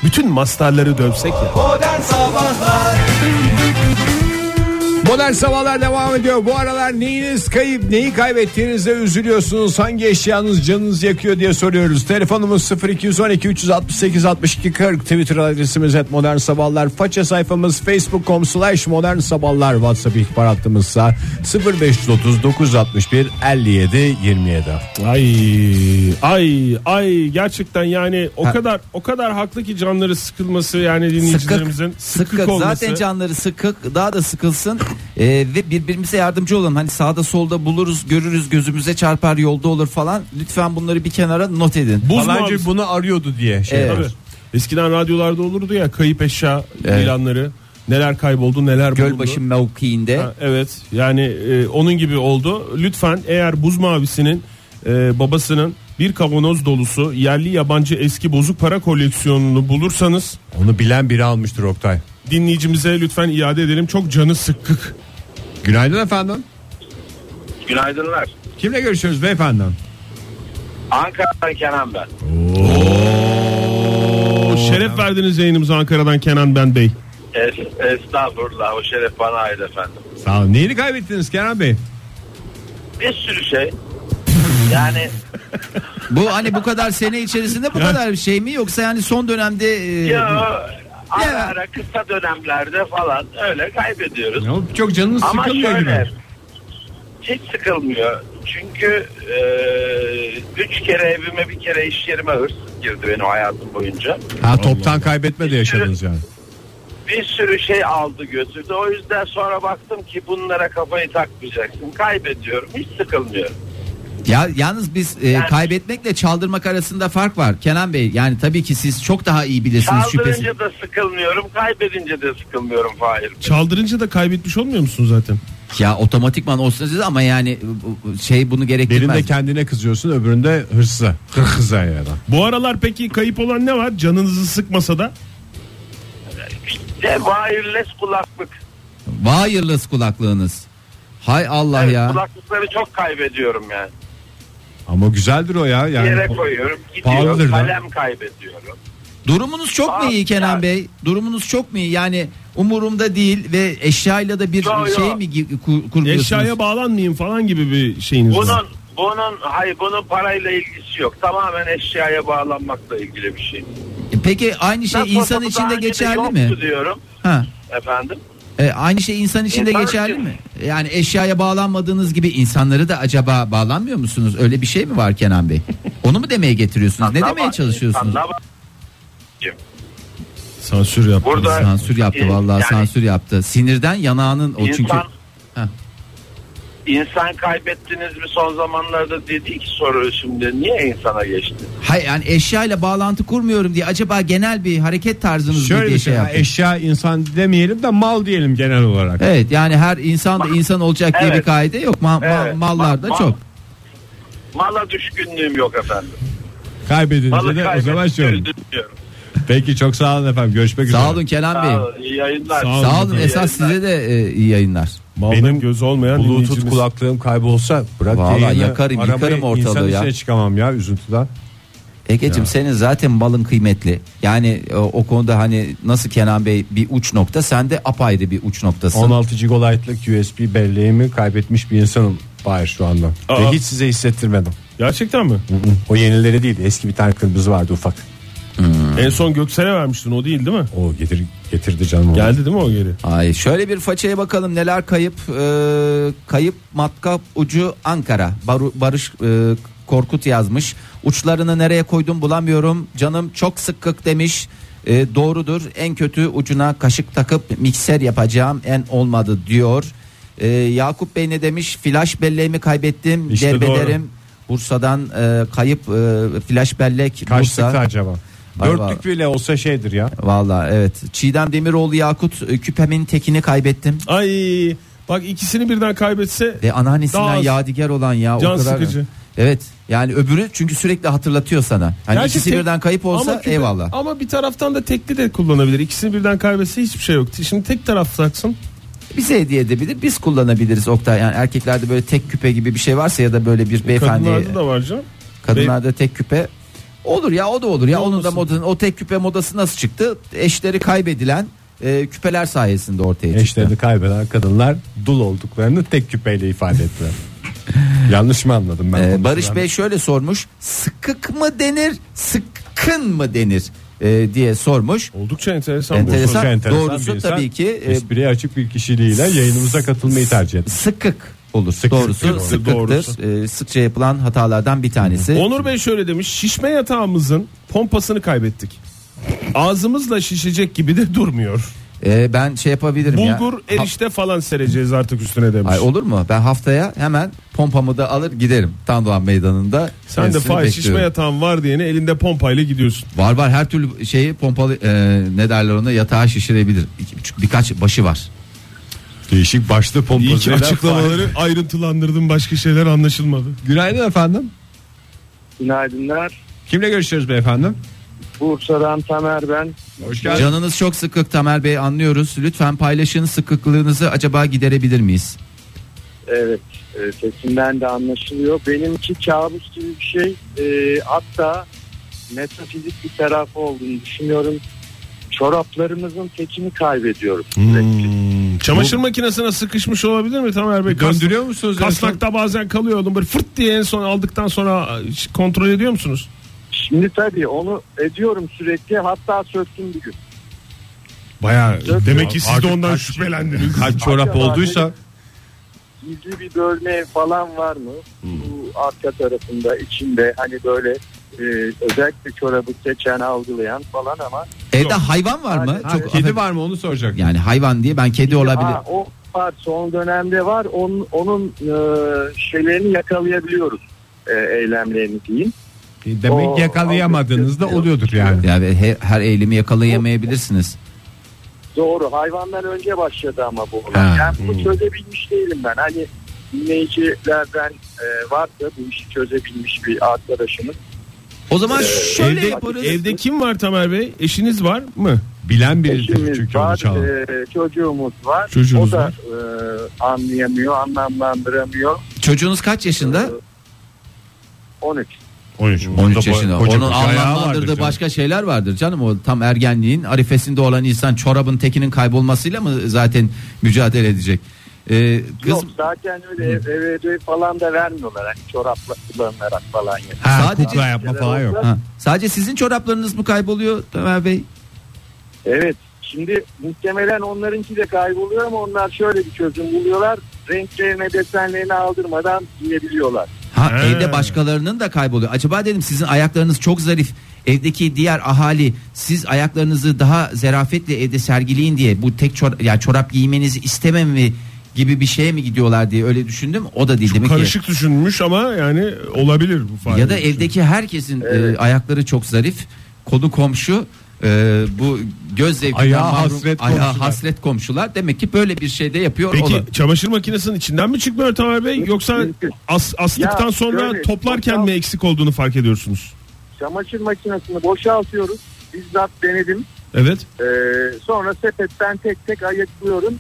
Speaker 4: Bütün mastarları dövsek ya.
Speaker 2: Modern sabahlar devam ediyor. Bu aralar neyiniz kayıp, neyi kaybettiğinizde üzülüyorsunuz, hangi eşyanız canınız yakıyor diye soruyoruz. Telefonumuz 0212 368 62 40, Twitter adresimiz et modern sabahlar, faça sayfamız facebook.com slash modern sabahlar, whatsapp ihbar hattımızsa 0530 961 57 27.
Speaker 4: Ay
Speaker 3: Ee,
Speaker 4: ay ay gerçekten yani o kadar o kadar haklı ki canları sıkılması yani
Speaker 3: Sıkık,
Speaker 4: dinleyicilerimizin sıkık,
Speaker 3: sıkık.
Speaker 4: olması.
Speaker 3: zaten canları sıkık daha da sıkılsın Ee, ve birbirimize yardımcı olalım hani sağda solda buluruz görürüz gözümüze çarpar yolda olur falan lütfen bunları bir kenara not edin.
Speaker 4: Buz
Speaker 2: Falancı
Speaker 4: mavisi.
Speaker 2: bunu arıyordu diye şey
Speaker 3: Evet.
Speaker 2: var.
Speaker 4: Tabii. Eskiden radyolarda olurdu ya kayıp eşya
Speaker 3: Evet.
Speaker 4: ilanları. Neler kayboldu neler bulundu.
Speaker 3: Gölbaşı mevkiinde
Speaker 4: Ha, Evet yani e, onun gibi oldu. Lütfen eğer buz mavisinin e, babasının bir kavanoz dolusu yerli yabancı eski bozuk para koleksiyonunu bulursanız
Speaker 2: Onu bilen biri almıştır Oktay.
Speaker 4: dinleyicimize lütfen iade edelim. Çok canı sıkkık.
Speaker 2: Günaydın efendim.
Speaker 6: Günaydınlar.
Speaker 2: Kimle görüşüyoruz beyefendi?
Speaker 6: Ankara'dan Kenan ben.
Speaker 4: O şeref verdiniz yayınımıza Ankara'dan Kenan Ben Bey.
Speaker 6: Es, estağfurullah o şeref bana ait efendim.
Speaker 2: Sağ olun. Neyini kaybettiniz Kenan Bey?
Speaker 6: Bir sürü şey. Yani
Speaker 3: bu hani bu kadar sene içerisinde bu kadar bir şey mi yoksa yani son dönemde e,
Speaker 6: ya ara
Speaker 3: Ya.
Speaker 6: ara kısa dönemlerde falan öyle kaybediyoruz.
Speaker 2: Ya çok canınız
Speaker 6: Ama
Speaker 2: sıkılmıyor gibi.
Speaker 6: şöyle hiç sıkılmıyor. Çünkü e, üç kere evime bir kere iş yerime hırsız girdi benim hayatım boyunca.
Speaker 2: Ha toptan kaybetme de yaşadınız yani.
Speaker 6: bir sürü şey aldı götürdü. O yüzden sonra baktım ki bunlara kafayı takmayacaksın. Kaybediyorum. Hiç sıkılmıyorum.
Speaker 3: Ya yalnız biz e,
Speaker 6: Yani-
Speaker 3: kaybetmekle çaldırmak arasında fark var. Kenan Bey yani tabii ki siz çok daha iyi bilirsiniz şüphesiz.
Speaker 6: Kaldırınca da sıkılmıyorum. Kaybedince de sıkılmıyorum Fahir.
Speaker 4: Çaldırınca da kaybetmiş olmuyor musun zaten?
Speaker 3: Ya otomatikman olsun siz ama yani bu- bu- şey bunu
Speaker 2: Birinde
Speaker 3: gerektirmez.
Speaker 2: kendine kızıyorsun öbüründe hırsıza. Hırsıza yani.
Speaker 4: Bu aralar peki kayıp olan ne var? Canınızı sıkmasa da.
Speaker 6: İşte wireless kulaklık.
Speaker 3: Wireless kulaklığınız. Hay Allah
Speaker 6: Evet,
Speaker 3: ya.
Speaker 6: Kulaklıkları çok kaybediyorum yani.
Speaker 2: Ama güzeldir o ya.
Speaker 6: Bir
Speaker 2: Yani
Speaker 6: yere koyuyorum
Speaker 2: pahalıdır
Speaker 6: gidiyorum
Speaker 2: da.
Speaker 6: kalem kaybediyorum.
Speaker 3: Durumunuz çok mu
Speaker 6: Abi
Speaker 3: iyi Kenan
Speaker 6: ya.
Speaker 3: Bey? Durumunuz çok mu iyi? Yani umurumda değil ve eşyayla da bir
Speaker 6: Yo, yo.
Speaker 3: şey mi gi- kur- kurmuyorsunuz?
Speaker 4: Eşyaya bağlanmayayım falan gibi bir şeyiniz var.
Speaker 6: Bunun bunun hayır bunun parayla ilgisi yok. Tamamen eşyaya bağlanmakla ilgili bir şey.
Speaker 3: Peki aynı şey
Speaker 6: Ben
Speaker 3: insan
Speaker 6: fotoğrafı daha
Speaker 3: içinde
Speaker 6: önce de
Speaker 3: geçerli
Speaker 6: yoktu
Speaker 3: mi?
Speaker 6: diyorum
Speaker 3: Ha.
Speaker 6: efendim.
Speaker 3: E, aynı şey insan içinde
Speaker 6: İnsan
Speaker 3: geçerli
Speaker 6: için.
Speaker 3: mi? Yani eşyaya bağlanmadığınız gibi insanları da acaba bağlanmıyor musunuz? Öyle bir şey mi var Kenan Bey? Onu mu demeye getiriyorsunuz? Ne demeye çalışıyorsunuz?
Speaker 6: Anlama-
Speaker 4: Sansür yap.
Speaker 6: Burada
Speaker 3: Sansür yaptı
Speaker 6: e,
Speaker 3: vallahi
Speaker 6: yani
Speaker 3: sansür yaptı. Sinirden yanağının o çünkü.
Speaker 6: İnsan,
Speaker 3: Heh.
Speaker 6: insan kaybettiniz mi son zamanlarda dedi ki soru şimdi niye insana geçti?
Speaker 3: Hayır yani eşyayla bağlantı kurmuyorum diye acaba genel bir hareket tarzınız mı
Speaker 2: şöyle
Speaker 3: diye
Speaker 2: bir
Speaker 3: şey
Speaker 2: şey.
Speaker 3: yaptı.
Speaker 2: Eşya insan demeyelim de mal diyelim genel olarak.
Speaker 3: Evet yani her insan da insan olacak diye
Speaker 6: Evet.
Speaker 3: bir kaide yok. Ma- ma-
Speaker 6: Evet.
Speaker 3: mallarda
Speaker 6: Ma- ma-
Speaker 3: çok.
Speaker 6: Mala düşkünlüğüm yok efendim.
Speaker 2: Kaybedince
Speaker 6: Malı
Speaker 2: de o zaman şey olur.
Speaker 6: kaybettim diyorum.
Speaker 2: Peki çok sağ olun efendim. Görüşmek üzere.
Speaker 3: Sağ olun Kenan Bey.
Speaker 6: Sağ olun, iyi yayınlar.
Speaker 4: Sağ
Speaker 3: Sağ olun
Speaker 4: olun.
Speaker 3: esas size de e, iyi yayınlar.
Speaker 4: Benim göz olmayan
Speaker 2: Bluetooth
Speaker 4: dinleyicimiz.
Speaker 2: kulaklığım kaybolsa bırak
Speaker 3: Vallahi
Speaker 2: yayını,
Speaker 3: yakarım,
Speaker 2: arabayı
Speaker 3: yıkarım ortalığı
Speaker 2: insanın
Speaker 3: ya.
Speaker 2: içine çıkamam ya üzüntüden.
Speaker 3: Egeciğim senin zaten malın kıymetli. Yani e, o konuda hani nasıl Kenan Bey bir uç nokta sen de apayrı bir uç noktasın.
Speaker 2: 16 GB'lık USB belleğimi kaybetmiş bir insanım Fahir şu anda. Ve
Speaker 4: Aa.
Speaker 2: hiç size hissettirmedim.
Speaker 4: Gerçekten mi?
Speaker 2: O yenileri değil eski bir tane kırmızı vardı ufak.
Speaker 4: En son Göksel'e vermiştin o değil değil mi?
Speaker 2: O getir, getirdi canım. onu.
Speaker 4: Geldi değil mi o geri?
Speaker 3: Ay şöyle bir façaya bakalım neler kayıp. Ee, kayıp matkap ucu Ankara. Baru- Barış e, Korkut yazmış. Uçlarını nereye koydum bulamıyorum. Canım çok sıkkık demiş. Ee, doğrudur. En kötü ucuna kaşık takıp mikser yapacağım. En olmadı diyor. Ee, Yakup Bey ne demiş? Flaş belleğimi kaybettim.
Speaker 4: İşte
Speaker 3: Derbederim. Bursa'dan e, kayıp e, flaş bellek
Speaker 2: Kaçlıktı
Speaker 3: Bursa.
Speaker 2: acaba?
Speaker 3: Ay vallahi.
Speaker 2: Dörtlük bile olsa şeydir ya.
Speaker 3: Valla evet. Çiğdem Demiroğlu Yakut e, küpemin tekini kaybettim.
Speaker 4: Ay bak ikisini birden kaybetse
Speaker 3: Ve anneannesinden
Speaker 4: Daha az.
Speaker 3: yadigar olan ya.
Speaker 4: Can
Speaker 3: o kadar...
Speaker 4: sıkıcı.
Speaker 3: Evet yani öbürü çünkü sürekli hatırlatıyor sana. Hani
Speaker 4: Gerçi
Speaker 3: ikisi
Speaker 4: tek-
Speaker 3: birden kayıp olsa
Speaker 4: Ama küpe-
Speaker 3: eyvallah.
Speaker 4: Ama bir taraftan da tekli de kullanabilir. İkisini birden kaybetse hiçbir şey yok. Şimdi tek taraftaksın.
Speaker 3: Bize hediye edebilir biz kullanabiliriz Oktay. Yani erkeklerde böyle tek küpe gibi bir şey varsa ya da böyle bir beyefendi
Speaker 4: Kadınlarda da var canım.
Speaker 3: kadınlarda tek küpe olur ya o da olur ya
Speaker 4: Ne
Speaker 3: onun da
Speaker 4: olmasın?
Speaker 3: modası o tek küpe modası nasıl çıktı? Eşleri kaybedilen e, küpeler sayesinde ortaya çıktı. E,
Speaker 2: Eşlerini kaybeden kadınlar dul olduklarını tek küpeyle ifade ettiler. Yanlış mı anladım ben?
Speaker 3: Ee,
Speaker 2: konuşulan?
Speaker 3: Barış Bey şöyle sormuş. Sıkık mı denir, sıkkın mı denir Ee, diye sormuş.
Speaker 4: Oldukça enteresan. bu.
Speaker 3: Enteresan.
Speaker 2: Oldukça enteresan
Speaker 3: Doğrusu
Speaker 2: bir insan.
Speaker 3: tabii ki, e,
Speaker 2: Espriye açık bir kişiliğiyle yayınımıza katılmayı tercih etti.
Speaker 3: Sıkık olur.
Speaker 2: Sıkık
Speaker 3: doğrusu
Speaker 2: olur.
Speaker 3: sıkıktır.
Speaker 4: Doğrusu.
Speaker 3: Ee, sıkça yapılan hatalardan bir tanesi.
Speaker 4: Onur Bey şöyle demiş. Şişme yatağımızın pompasını kaybettik. Ağzımızla şişecek gibi de durmuyor.
Speaker 3: Ee, ben şey yapabilirim ya.
Speaker 4: Bulgur, erişte falan sereceğiz artık üstüne demiş.
Speaker 3: Ay olur mu? Ben haftaya hemen pompamı da alır giderim. Tan Doğan Meydanı'nda.
Speaker 4: Sen de
Speaker 3: kendisini
Speaker 4: faiz şişme
Speaker 3: bekliyorum.
Speaker 4: yatağın var diyene elinde pompayla gidiyorsun.
Speaker 3: Var var her türlü şeyi pompalı e, ne derler ona yatağa şişirebilir. İki- çünkü birkaç başı var.
Speaker 2: Değişik başlı
Speaker 4: İyi ki
Speaker 2: pompozuyla.
Speaker 4: açıklamaları ayrıntılandırdım başka şeyler anlaşılmadı.
Speaker 2: Günaydın efendim.
Speaker 7: Günaydınlar.
Speaker 2: Kimle görüşüyoruz beyefendi?
Speaker 7: Bursa'dan Tamer ben.
Speaker 2: Hoş
Speaker 3: Canınız çok sıkık Tamer Bey anlıyoruz. Lütfen paylaşın sıkıklığınızı acaba giderebilir miyiz?
Speaker 7: Evet
Speaker 6: Ee,
Speaker 7: e, sesimden de anlaşılıyor. Benimki kabus gibi bir şey.
Speaker 6: ee,
Speaker 7: E, hatta metafizik bir tarafı olduğunu düşünüyorum. Çoraplarımızın tekini kaybediyoruz.
Speaker 2: Hmm,
Speaker 4: Çamaşır makinesine sıkışmış olabilir mi Tamer Bey? Kas-
Speaker 2: Döndürüyor musunuz?
Speaker 4: Kaslakta bazen kalıyor oğlum böyle fırt diye en son aldıktan sonra hiç kontrol ediyor musunuz?
Speaker 7: Şimdi tabii onu ediyorum sürekli. Hatta söktüm bir gün.
Speaker 4: Baya
Speaker 7: Dört-
Speaker 4: demek ki siz de
Speaker 2: Artık
Speaker 4: ondan
Speaker 2: kaç-
Speaker 4: şüphelendiniz.
Speaker 2: Kaç çorap
Speaker 7: Acaba
Speaker 2: olduysa
Speaker 7: Gizli bir bölme falan var mı? Bu arka tarafında içinde hani böyle e, özellikle çorabı seçen algılayan falan ama
Speaker 3: Evde hayvan var mı?
Speaker 7: Ha,
Speaker 3: Çok
Speaker 2: kedi var mı onu soracak.
Speaker 3: Yani hayvan diye ben kedi olabilir.
Speaker 7: Aa, o var son dönemde var. Onun, onun e, şeylerini yakalayabiliyoruz. E, eylemlerini diyeyim.
Speaker 2: Demek
Speaker 7: O-
Speaker 2: yakalayamadığınızda
Speaker 7: Yok.
Speaker 2: oluyordur yani.
Speaker 3: Yani he- her eğilimi yakalayamayabilirsiniz.
Speaker 7: Doğru hayvandan önce başladı ama bu olay.
Speaker 5: Ha,
Speaker 7: Yani bunu çözebilmiş değilim ben. Hani dinleyicilerden e, varsa bu işi çözebilmiş bir arkadaşımız.
Speaker 3: O zaman şöyle
Speaker 4: Ee, evde,
Speaker 3: yaparız.
Speaker 4: evde kim var Tamer Bey? Eşiniz var mı?
Speaker 5: Bilen biri dedi
Speaker 7: Eşimiz
Speaker 5: çünkü onu
Speaker 7: var,
Speaker 5: çaldı.
Speaker 7: e, çocuğumuz var.
Speaker 5: Çocuğunuz
Speaker 7: o da
Speaker 5: var.
Speaker 7: e, anlayamıyor, anlamlandıramıyor.
Speaker 3: Çocuğunuz kaç yaşında?
Speaker 7: 13.
Speaker 5: 13.
Speaker 3: 13 yaşında. Onun anlamlandırdığı
Speaker 5: başka.
Speaker 3: başka şeyler vardır canım. O tam ergenliğin arifesinde olan insan çorabın tekinin kaybolmasıyla mı zaten mücadele edecek? Ee, kız
Speaker 7: Yok zaten öyle ev, ev, ödevi falan da vermiyorlar. Hani çorapla kullanılarak falan. Yani.
Speaker 5: Ha,
Speaker 3: Sadece-
Speaker 5: kukla yapma falan yok.
Speaker 3: ha, sadece sizin çoraplarınız mı kayboluyor Ömer Bey?
Speaker 7: Evet. Şimdi muhtemelen onlarınki de kayboluyor ama onlar şöyle bir çözüm buluyorlar. Renklerine desenlerini aldırmadan giyebiliyorlar.
Speaker 3: Ha,
Speaker 4: He.
Speaker 3: evde başkalarının da kayboluyor. Acaba dedim sizin ayaklarınız çok zarif. Evdeki diğer ahali siz ayaklarınızı daha zarafetle evde sergileyin diye bu tek çor ya çorap giymenizi istememi gibi bir şeye mi gidiyorlar diye öyle düşündüm. O da değil demek ki.
Speaker 4: Karışık düşünmüş ama yani olabilir bu faaliyet.
Speaker 3: Ya da evdeki herkesin e, ayakları çok zarif. Konu komşu e, bu göz zevkinden
Speaker 5: Ayağa
Speaker 3: mahrum-
Speaker 5: hasret
Speaker 3: ayağa
Speaker 5: komşular.
Speaker 3: hasret komşular. Demek ki böyle bir şey de yapıyor
Speaker 4: Peki
Speaker 3: olan.
Speaker 4: çamaşır makinesinin içinden mi çıkmıyor Tamer Bey? Yoksa
Speaker 7: Mümkün.
Speaker 4: as, astıktan
Speaker 7: Ya,
Speaker 4: sonra
Speaker 7: şöyle,
Speaker 4: toplarken
Speaker 7: toplam-
Speaker 4: mi eksik olduğunu fark ediyorsunuz?
Speaker 7: Çamaşır makinesini boşaltıyoruz. Bizzat denedim.
Speaker 4: Evet.
Speaker 7: Ee, sonra sepetten tek tek ayıklıyorum.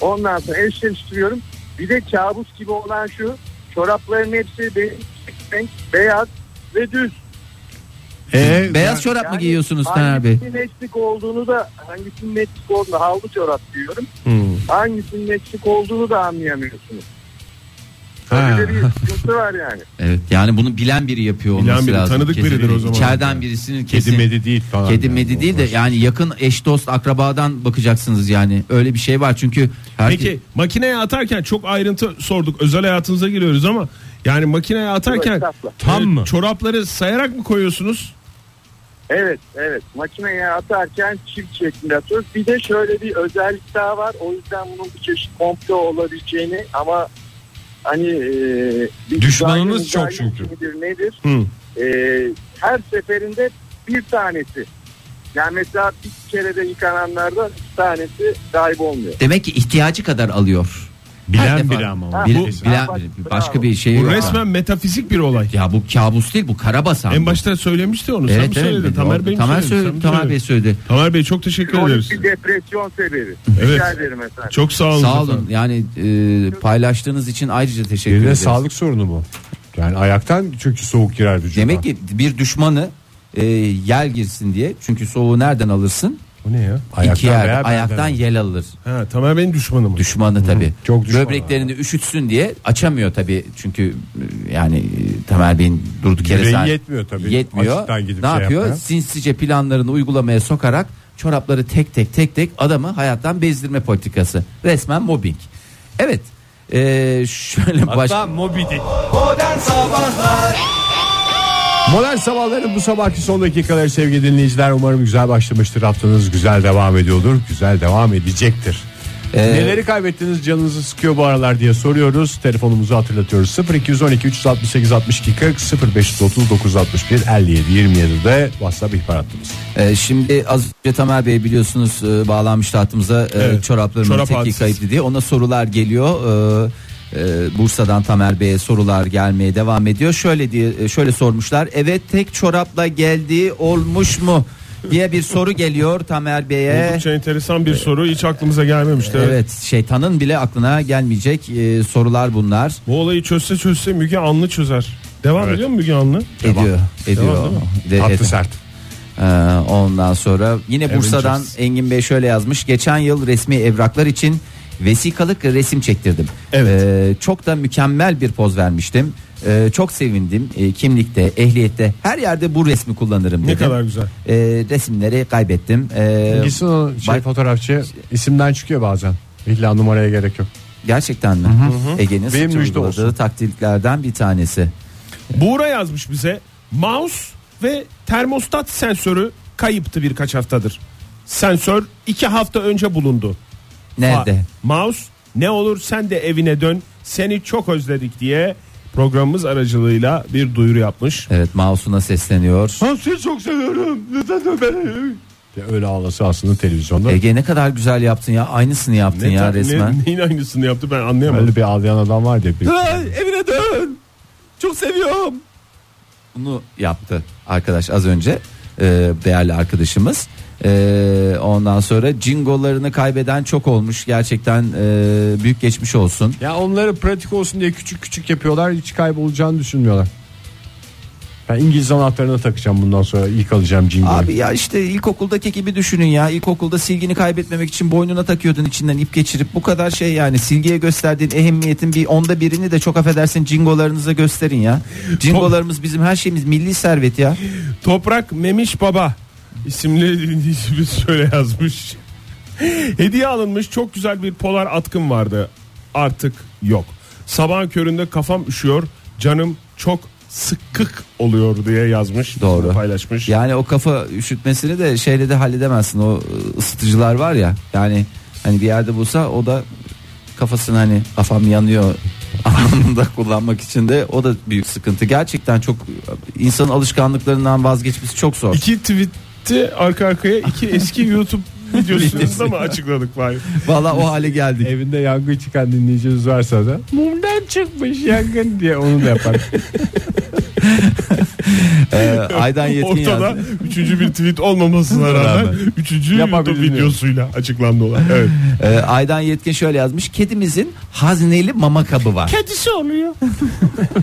Speaker 7: Ondan sonra eşleştiriyorum. Bir de kabus gibi olan şu. Çorapların hepsi benim renk, beyaz ve düz.
Speaker 2: Ee,
Speaker 3: Beyaz çorap mı
Speaker 7: Yani şey
Speaker 3: giyiyorsunuz Taner Bey?
Speaker 7: Hangisinin eksik olduğunu da hangisinin eksik olduğunu havlu çorap diyorum. Hangisinin eksik olduğunu da anlayamıyorsunuz.
Speaker 2: Ha.
Speaker 7: Böyle bir sıkıntı var yani.
Speaker 3: Evet yani bunu bilen biri yapıyor
Speaker 4: Bilen
Speaker 3: olması
Speaker 4: biri,
Speaker 3: lazım.
Speaker 4: tanıdık biridir o zaman.
Speaker 3: İçeriden birisinin kesin.
Speaker 2: Kedi
Speaker 3: Kedi
Speaker 2: medi değil falan. yani.
Speaker 3: medi değil de yani yakın eş dost akrabadan bakacaksınız yani. Öyle bir şey var çünkü. herkes-
Speaker 4: Peki makineye atarken çok ayrıntı sorduk. Özel hayatınıza giriyoruz ama yani makineye atarken
Speaker 7: Estağfurullah.
Speaker 4: tam mı? Çorapları sayarak mı koyuyorsunuz?
Speaker 7: Evet evet makineye atarken çift şeklinde atıyoruz. Bir de şöyle bir özellik daha var. O yüzden bunun bir çeşit komplo olabileceğini ama hani e, bir
Speaker 5: Düşmanınız
Speaker 7: dizayn-
Speaker 5: çok çünkü.
Speaker 7: midir, nedir?
Speaker 4: Hı.
Speaker 7: E, her seferinde bir tanesi. Yani mesela bir kere de yıkananlarda bir tanesi kaybolmuyor.
Speaker 3: Demek ki ihtiyacı kadar alıyor. Her
Speaker 2: Bilen
Speaker 3: defa-
Speaker 2: biri ama. o.
Speaker 7: Ha,
Speaker 3: Bir,
Speaker 7: bu-
Speaker 3: bilen biri. Başka bir şey
Speaker 4: Bu
Speaker 3: yok. ha.
Speaker 4: resmen metafizik bir olay.
Speaker 3: Ya bu kabus değil bu karabasan.
Speaker 4: En başta söylemişti onu. Sen mi
Speaker 3: Evet, evet,
Speaker 4: söyledin? Tamer Bey mi
Speaker 3: Tamer
Speaker 4: söyledi? Sen
Speaker 3: söyledi.
Speaker 4: mi
Speaker 3: Tamer
Speaker 4: söyledin?
Speaker 3: Bey söyledi.
Speaker 4: Tamer Bey çok teşekkür ederiz.
Speaker 7: Kronik bir depresyon sebebi.
Speaker 4: Evet.
Speaker 7: Rica ederim efendim.
Speaker 4: Çok sağ olun.
Speaker 3: Sağ
Speaker 4: efendim.
Speaker 3: olun. Yani e, paylaştığınız için ayrıca teşekkür
Speaker 2: Birine
Speaker 3: ederiz.
Speaker 2: sağlık sorunu bu. Yani ayaktan çünkü soğuk girer vücuda.
Speaker 3: Demek ki bir düşmanı e, yel girsin diye. Çünkü soğuğu nereden alırsın?
Speaker 4: Bu ne ya?
Speaker 2: Ayaktan
Speaker 3: İki yer,
Speaker 2: veya belden
Speaker 3: ayaktan
Speaker 2: alır.
Speaker 3: yel alır.
Speaker 4: Ha, Tamer Bey'in düşmanı mı?
Speaker 3: Düşmanı tabi.
Speaker 2: çok düşman
Speaker 3: Böbreklerini üşütsün diye açamıyor tabi. Çünkü e, yani e, Tamer Bey'in durduk yere
Speaker 2: Yüreği
Speaker 3: sen-
Speaker 2: yetmiyor tabii.
Speaker 3: Yetmiyor.
Speaker 2: Açıktan gidip
Speaker 3: ne
Speaker 2: şey
Speaker 3: yapıyor?
Speaker 2: yapmaya.
Speaker 3: Sinsice planlarını uygulamaya sokarak çorapları tek tek tek tek adamı hayattan bezdirme politikası. Resmen mobbing. Evet. e, şöyle baş...
Speaker 2: Modern sabahların bu sabahki son dakikaları sevgili dinleyiciler umarım güzel başlamıştır haftanız güzel devam ediyordur güzel devam edecektir. Neleri kaybettiniz canınızı sıkıyor bu aralar diye soruyoruz. Telefonumuzu hatırlatıyoruz. 0212 368 62 40 0530 961 57 27'de WhatsApp ihbar hattımız.
Speaker 3: Ee, şimdi az önce Tamer Bey biliyorsunuz e, bağlanmıştı hattımıza e,
Speaker 4: Evet.
Speaker 3: çoraplarımın
Speaker 4: Çorap
Speaker 3: teki
Speaker 4: hadisesi.
Speaker 3: kayıptı diye. Ona sorular geliyor. Ee, e, Bursa'dan Tamer Bey'e sorular gelmeye devam ediyor. Şöyle diye e, şöyle sormuşlar. Evet tek çorapla geldiği olmuş mu diye bir soru geliyor Tamer Bey'e.
Speaker 4: Oldukça enteresan bir soru. Hiç aklımıza gelmemişti. evet.
Speaker 3: Evet şeytanın bile aklına gelmeyecek e, sorular bunlar.
Speaker 4: Bu olayı çözse çözse Müge Anlı çözer. Devam ediyor mu Müge Anlı?
Speaker 3: Ediyor. Ediyor. De-
Speaker 2: Hattı
Speaker 3: ed-
Speaker 2: sert.
Speaker 3: Ee, ondan sonra yine Bursa'dan Engin Bey şöyle yazmış. Geçen yıl resmi evraklar için vesikalık resim çektirdim.
Speaker 4: Evet.
Speaker 3: Ee, çok da mükemmel bir poz vermiştim. Ee, çok sevindim. Ee, kimlikte, ehliyette her yerde bu resmi kullanırım
Speaker 4: Ne
Speaker 3: dedim.
Speaker 4: kadar güzel.
Speaker 3: Ee, resimleri kaybettim. Ee,
Speaker 2: Gitsin o şey
Speaker 3: bak-
Speaker 2: fotoğrafçı isimden çıkıyor bazen. İlla numaraya gerek yok.
Speaker 3: gerçekten mi? Ege'nin
Speaker 2: Benim
Speaker 3: sıkça
Speaker 2: müjde olsun.
Speaker 3: uyguladığı taktiklerden bir tanesi.
Speaker 4: Buğra yazmış bize. Mouse ve termostat sensörü kayıptı birkaç haftadır. Sensör iki hafta önce bulundu.
Speaker 3: Nerede?
Speaker 4: Ma- mouse ne olur sen de evine dön seni çok özledik diye programımız aracılığıyla bir duyuru yapmış.
Speaker 3: Evet mouse'una sesleniyor.
Speaker 4: Ben seni çok seviyorum. Neden
Speaker 2: De Öyle ağlası aslında televizyonda.
Speaker 3: Ege ne kadar güzel yaptın ya. Aynısını yaptın
Speaker 4: Ne
Speaker 3: ya
Speaker 4: ta- ne-
Speaker 3: resmen.
Speaker 4: neyin aynısını yaptı ben anlayamadım.
Speaker 2: Öyle bir ağlayan adam var diye.
Speaker 3: Ay, evine dön. Çok seviyorum. Bunu yaptı arkadaş az önce e, değerli arkadaşımız. E, ondan sonra cingolarını kaybeden çok olmuş. Gerçekten e, büyük geçmiş olsun.
Speaker 2: Ya onları pratik olsun diye küçük küçük yapıyorlar. Hiç kaybolacağını düşünmüyorlar. Ben İngiliz anahtarına takacağım bundan sonra. ilk alacağım cingoyu.
Speaker 3: Abi ya işte ilkokuldaki gibi düşünün ya. İlkokulda silgini kaybetmemek için boynuna takıyordun içinden ip geçirip bu kadar şey yani silgiye gösterdiğin ehemmiyetin bir onda birini de çok affedersin cingolarınıza gösterin ya. Cingolarımız bizim her şeyimiz milli servet ya.
Speaker 4: Toprak Memiş Baba isimli dinleyicimiz şöyle yazmış. Hediye alınmış çok güzel bir polar atkım vardı. Artık yok. Sabahın köründe kafam üşüyor. Canım çok sıkkık oluyor diye yazmış.
Speaker 3: Doğru.
Speaker 4: Bunu Paylaşmış.
Speaker 3: Yani o kafa üşütmesini de şeyle de halledemezsin. O ıı, ısıtıcılar var ya. Yani hani bir yerde bulsa o da kafasını hani kafam yanıyor anlamında kullanmak için de o da büyük sıkıntı. Gerçekten çok insanın alışkanlıklarından vazgeçmesi çok zor.
Speaker 4: İki tweet'i arka arkaya iki eski YouTube videosunu da mı açıkladık bari?
Speaker 3: Valla o hale geldik.
Speaker 2: Evinde yangın çıkan dinleyiciniz varsa da mumdan çıkmış yangın diye onu da yapar.
Speaker 3: Ee, Aydan Yetkin
Speaker 4: Ortada
Speaker 3: yazdı.
Speaker 4: üçüncü bir tweet olmamasına rağmen üçüncü YouTube
Speaker 2: Yapabildin
Speaker 4: videosuyla açıklandı olay. Evet.
Speaker 2: Hani
Speaker 3: Ee, Aydan Yetkin şöyle yazmış. Kedimizin hazneli mama kabı var.
Speaker 4: Kedisi oluyor.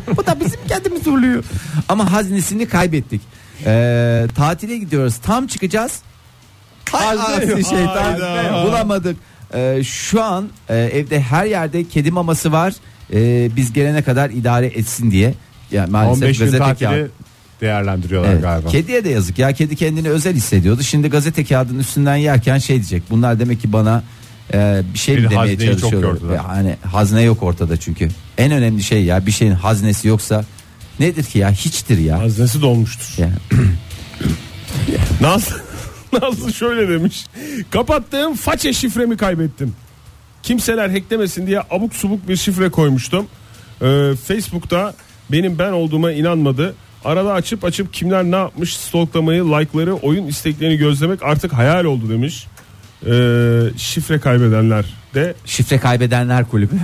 Speaker 3: Bu da bizim kendimiz oluyor. Ama haznesini kaybettik. Ee, tatile gidiyoruz. Tam çıkacağız. Hay
Speaker 4: Hazne
Speaker 3: aksi
Speaker 4: yok.
Speaker 3: şeytan.
Speaker 4: Hayda.
Speaker 3: Bulamadık. Ee, şu an e, evde her yerde kedi maması var. Ee, biz gelene kadar idare etsin diye. Yani maalesef
Speaker 2: 15 gün
Speaker 3: gazete
Speaker 2: tatili
Speaker 3: kağıdı-
Speaker 2: değerlendiriyorlar
Speaker 3: Evet,
Speaker 2: galiba.
Speaker 3: Kediye de yazık ya. Kedi kendini özel hissediyordu. Şimdi gazete kağıdının üstünden yerken şey diyecek. Bunlar demek ki bana e, bir şey
Speaker 2: Bir
Speaker 3: mi demeye
Speaker 2: hazneyi çok
Speaker 3: çalışıyorlar.
Speaker 2: gördüler.
Speaker 3: Yani hazne yok ortada çünkü. En önemli şey ya bir şeyin haznesi yoksa nedir ki ya hiçtir ya.
Speaker 4: Haznesi dolmuştur.
Speaker 3: Yani
Speaker 4: Nazlı, Nazlı şöyle demiş. Kapattığım façe şifremi kaybettim. Kimseler hacklemesin diye abuk subuk bir şifre koymuştum. Ee, Facebook'ta benim ben olduğuma inanmadı. Arada açıp açıp kimler ne yapmış stalklamayı, like'ları, oyun isteklerini gözlemek artık hayal oldu demiş. Ee, şifre kaybedenler de
Speaker 3: şifre kaybedenler kulübü.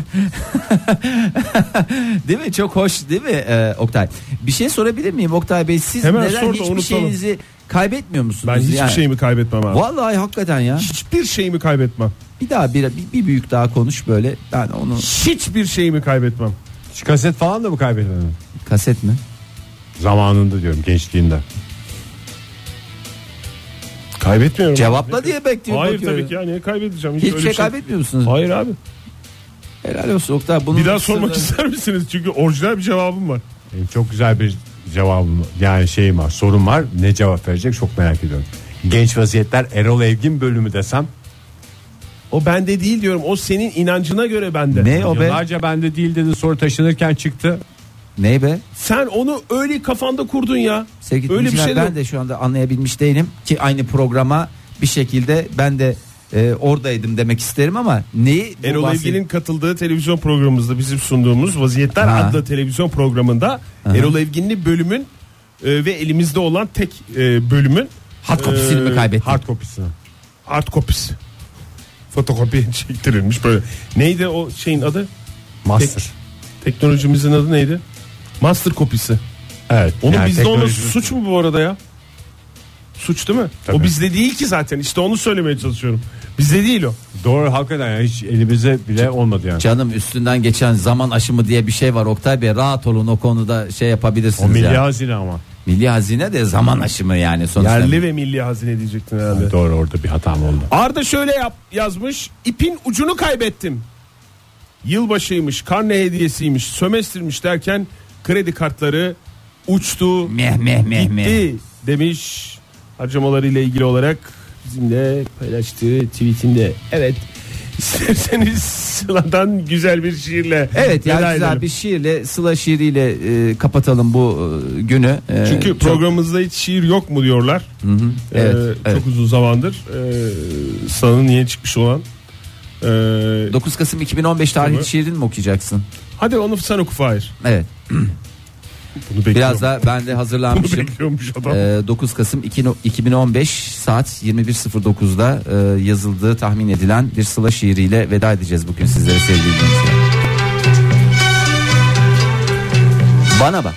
Speaker 3: değil mi? Çok hoş değil mi e, Oktay? Bir şey sorabilir miyim Oktay Bey? Siz
Speaker 4: Hemen
Speaker 3: neden
Speaker 4: sor da
Speaker 3: hiçbir
Speaker 4: unutalım.
Speaker 3: şeyinizi kaybetmiyor musunuz?
Speaker 4: ben hiçbir
Speaker 3: Yani-
Speaker 4: şeyimi kaybetmem abi.
Speaker 3: Vallahi hakikaten ya.
Speaker 4: Hiçbir şeyimi kaybetmem.
Speaker 3: Bir daha bir, bir, bir büyük daha konuş böyle. Ben onu
Speaker 4: Hiçbir şeyimi kaybetmem.
Speaker 2: Hiç kaset falan da mı kaybetmedin?
Speaker 3: kaset mi?
Speaker 2: Zamanında diyorum gençliğinde.
Speaker 4: Kaybetmiyorum.
Speaker 3: Cevapla diye bekliyorum.
Speaker 4: Hayır
Speaker 3: bakıyorum.
Speaker 4: tabii ki ya niye kaybedeceğim? Hiç
Speaker 3: Hiçbir
Speaker 4: öyle
Speaker 3: şey
Speaker 4: bir şey-
Speaker 3: kaybetmiyor musunuz?
Speaker 4: Hayır abi.
Speaker 3: Helal olsun Oktay. Bunun
Speaker 4: Bir daha
Speaker 3: sırrı-
Speaker 4: sormak ister misiniz? Çünkü orijinal bir cevabım var.
Speaker 2: Benim E, çok güzel bir cevabım yani şeyim var sorum var ne cevap verecek çok merak ediyorum. Genç vaziyetler Erol Evgin bölümü desem
Speaker 4: O bende değil diyorum. O senin inancına göre bende.
Speaker 3: Ne o be?
Speaker 2: yıllarca bende değil dedi sonra taşınırken çıktı.
Speaker 3: Ne be?
Speaker 4: Sen onu öyle kafanda kurdun ya.
Speaker 3: Sevgili
Speaker 4: öyle bir
Speaker 3: dinleyiciler,
Speaker 4: şey
Speaker 3: ben de şu anda anlayabilmiş değilim ki aynı programa bir şekilde ben de e, oradaydım demek isterim ama neyi bu
Speaker 4: Erol
Speaker 3: bahset-
Speaker 4: Evgin'in katıldığı televizyon programımızda bizim sunduğumuz Vaziyetler
Speaker 3: Ha.
Speaker 4: adlı televizyon programında Erol Evgin'li bölümün e, ve elimizde olan tek e, bölümün
Speaker 3: hard copy'sini mi
Speaker 4: Ee,
Speaker 3: kaybettik?
Speaker 2: Hard kopisini.
Speaker 4: art kopisi. Fotokopi çektirilmiş böyle. Neydi o şeyin adı?
Speaker 2: Master.
Speaker 4: Teknolojimizin adı neydi? Master kopisi.
Speaker 2: Evet.
Speaker 4: Onun
Speaker 2: yani
Speaker 4: bizde olması
Speaker 2: teknolojimiz-
Speaker 4: suç mu bu arada ya? Suç değil mi?
Speaker 2: Tabii.
Speaker 4: O bizde değil ki zaten. İşte onu söylemeye çalışıyorum. Bizde değil o.
Speaker 2: Doğru hakikaten yani hiç elimize bile olmadı yani.
Speaker 3: Canım üstünden geçen zaman aşımı diye bir şey var Oktay Bey rahat olun o konuda şey
Speaker 2: O
Speaker 3: yapabilirsiniz
Speaker 2: milli
Speaker 3: ya.
Speaker 2: hazine ama.
Speaker 3: Milli hazine de zaman aşımı yani sonuçta.
Speaker 4: Yerli ve milli hazine diyecektin herhalde.
Speaker 2: Doğru orada bir hatam oldu.
Speaker 4: Arda şöyle yap, yazmış. İpin ucunu kaybettim. Yılbaşıymış, karne hediyesiymiş, sömestrmiş derken kredi kartları uçtu,
Speaker 3: Meh meh meh meh.
Speaker 4: gitti demiş. Harcamalarıyla ilgili olarak bizimle paylaştığı tweetinde. Evet. İsterseniz Sıla'dan güzel bir şiirle
Speaker 3: Evet ya
Speaker 4: veda
Speaker 3: güzel
Speaker 4: edelim.
Speaker 3: bir şiirle Sıla şiiriyle e, kapatalım bu e, günü. E,
Speaker 4: Çünkü
Speaker 3: çok-
Speaker 4: programımızda hiç şiir yok mu diyorlar.
Speaker 3: Evet,
Speaker 4: Ee,
Speaker 3: evet.
Speaker 4: Çok uzun zamandır ee, sanın yeni çıkmış olan. Ee,
Speaker 3: 9 Kasım 2015 tarihli
Speaker 4: Tabii.
Speaker 3: şiirini mi okuyacaksın?
Speaker 4: hadi onu sen oku Fahir.
Speaker 3: Evet.
Speaker 4: Bunu bekliyorum.
Speaker 3: Biraz da ben de
Speaker 4: Bunu
Speaker 3: hazırlanmışım.
Speaker 4: bekliyormuş adam.
Speaker 3: Ee, 9 Kasım 2 no- 2015 saat 21.09'da e, yazıldığı tahmin edilen bir sıla şiiriyle veda edeceğiz bugün sizlere sevgili dinleyiciler. Bana bak.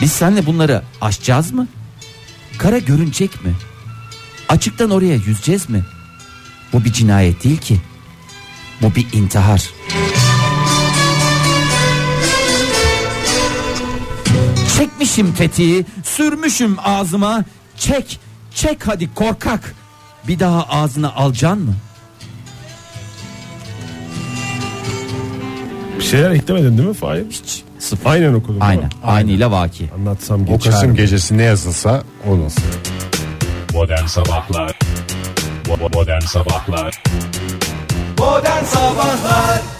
Speaker 3: Biz senle bunları aşacağız mı? Kara görünecek mi? Açıktan oraya yüzeceğiz mi? Bu bir cinayet değil ki. Bu bir intihar. Çekmişim tetiği, sürmüşüm ağzıma. Çek, çek hadi korkak. Bir daha ağzına alcan mı?
Speaker 4: Bir şeyler eklemedin değil mi Fahir?
Speaker 3: Hiç. Sıfır.
Speaker 4: Aynen okudum. değil mi?
Speaker 3: Aynen. Aynıyla vaki.
Speaker 4: Anlatsam
Speaker 2: O
Speaker 4: geçer.
Speaker 2: Kasım
Speaker 4: mi?
Speaker 2: gecesinde yazılsa o nasıl?
Speaker 8: Modern Sabahlar Bo- bo- Modern Sabahlar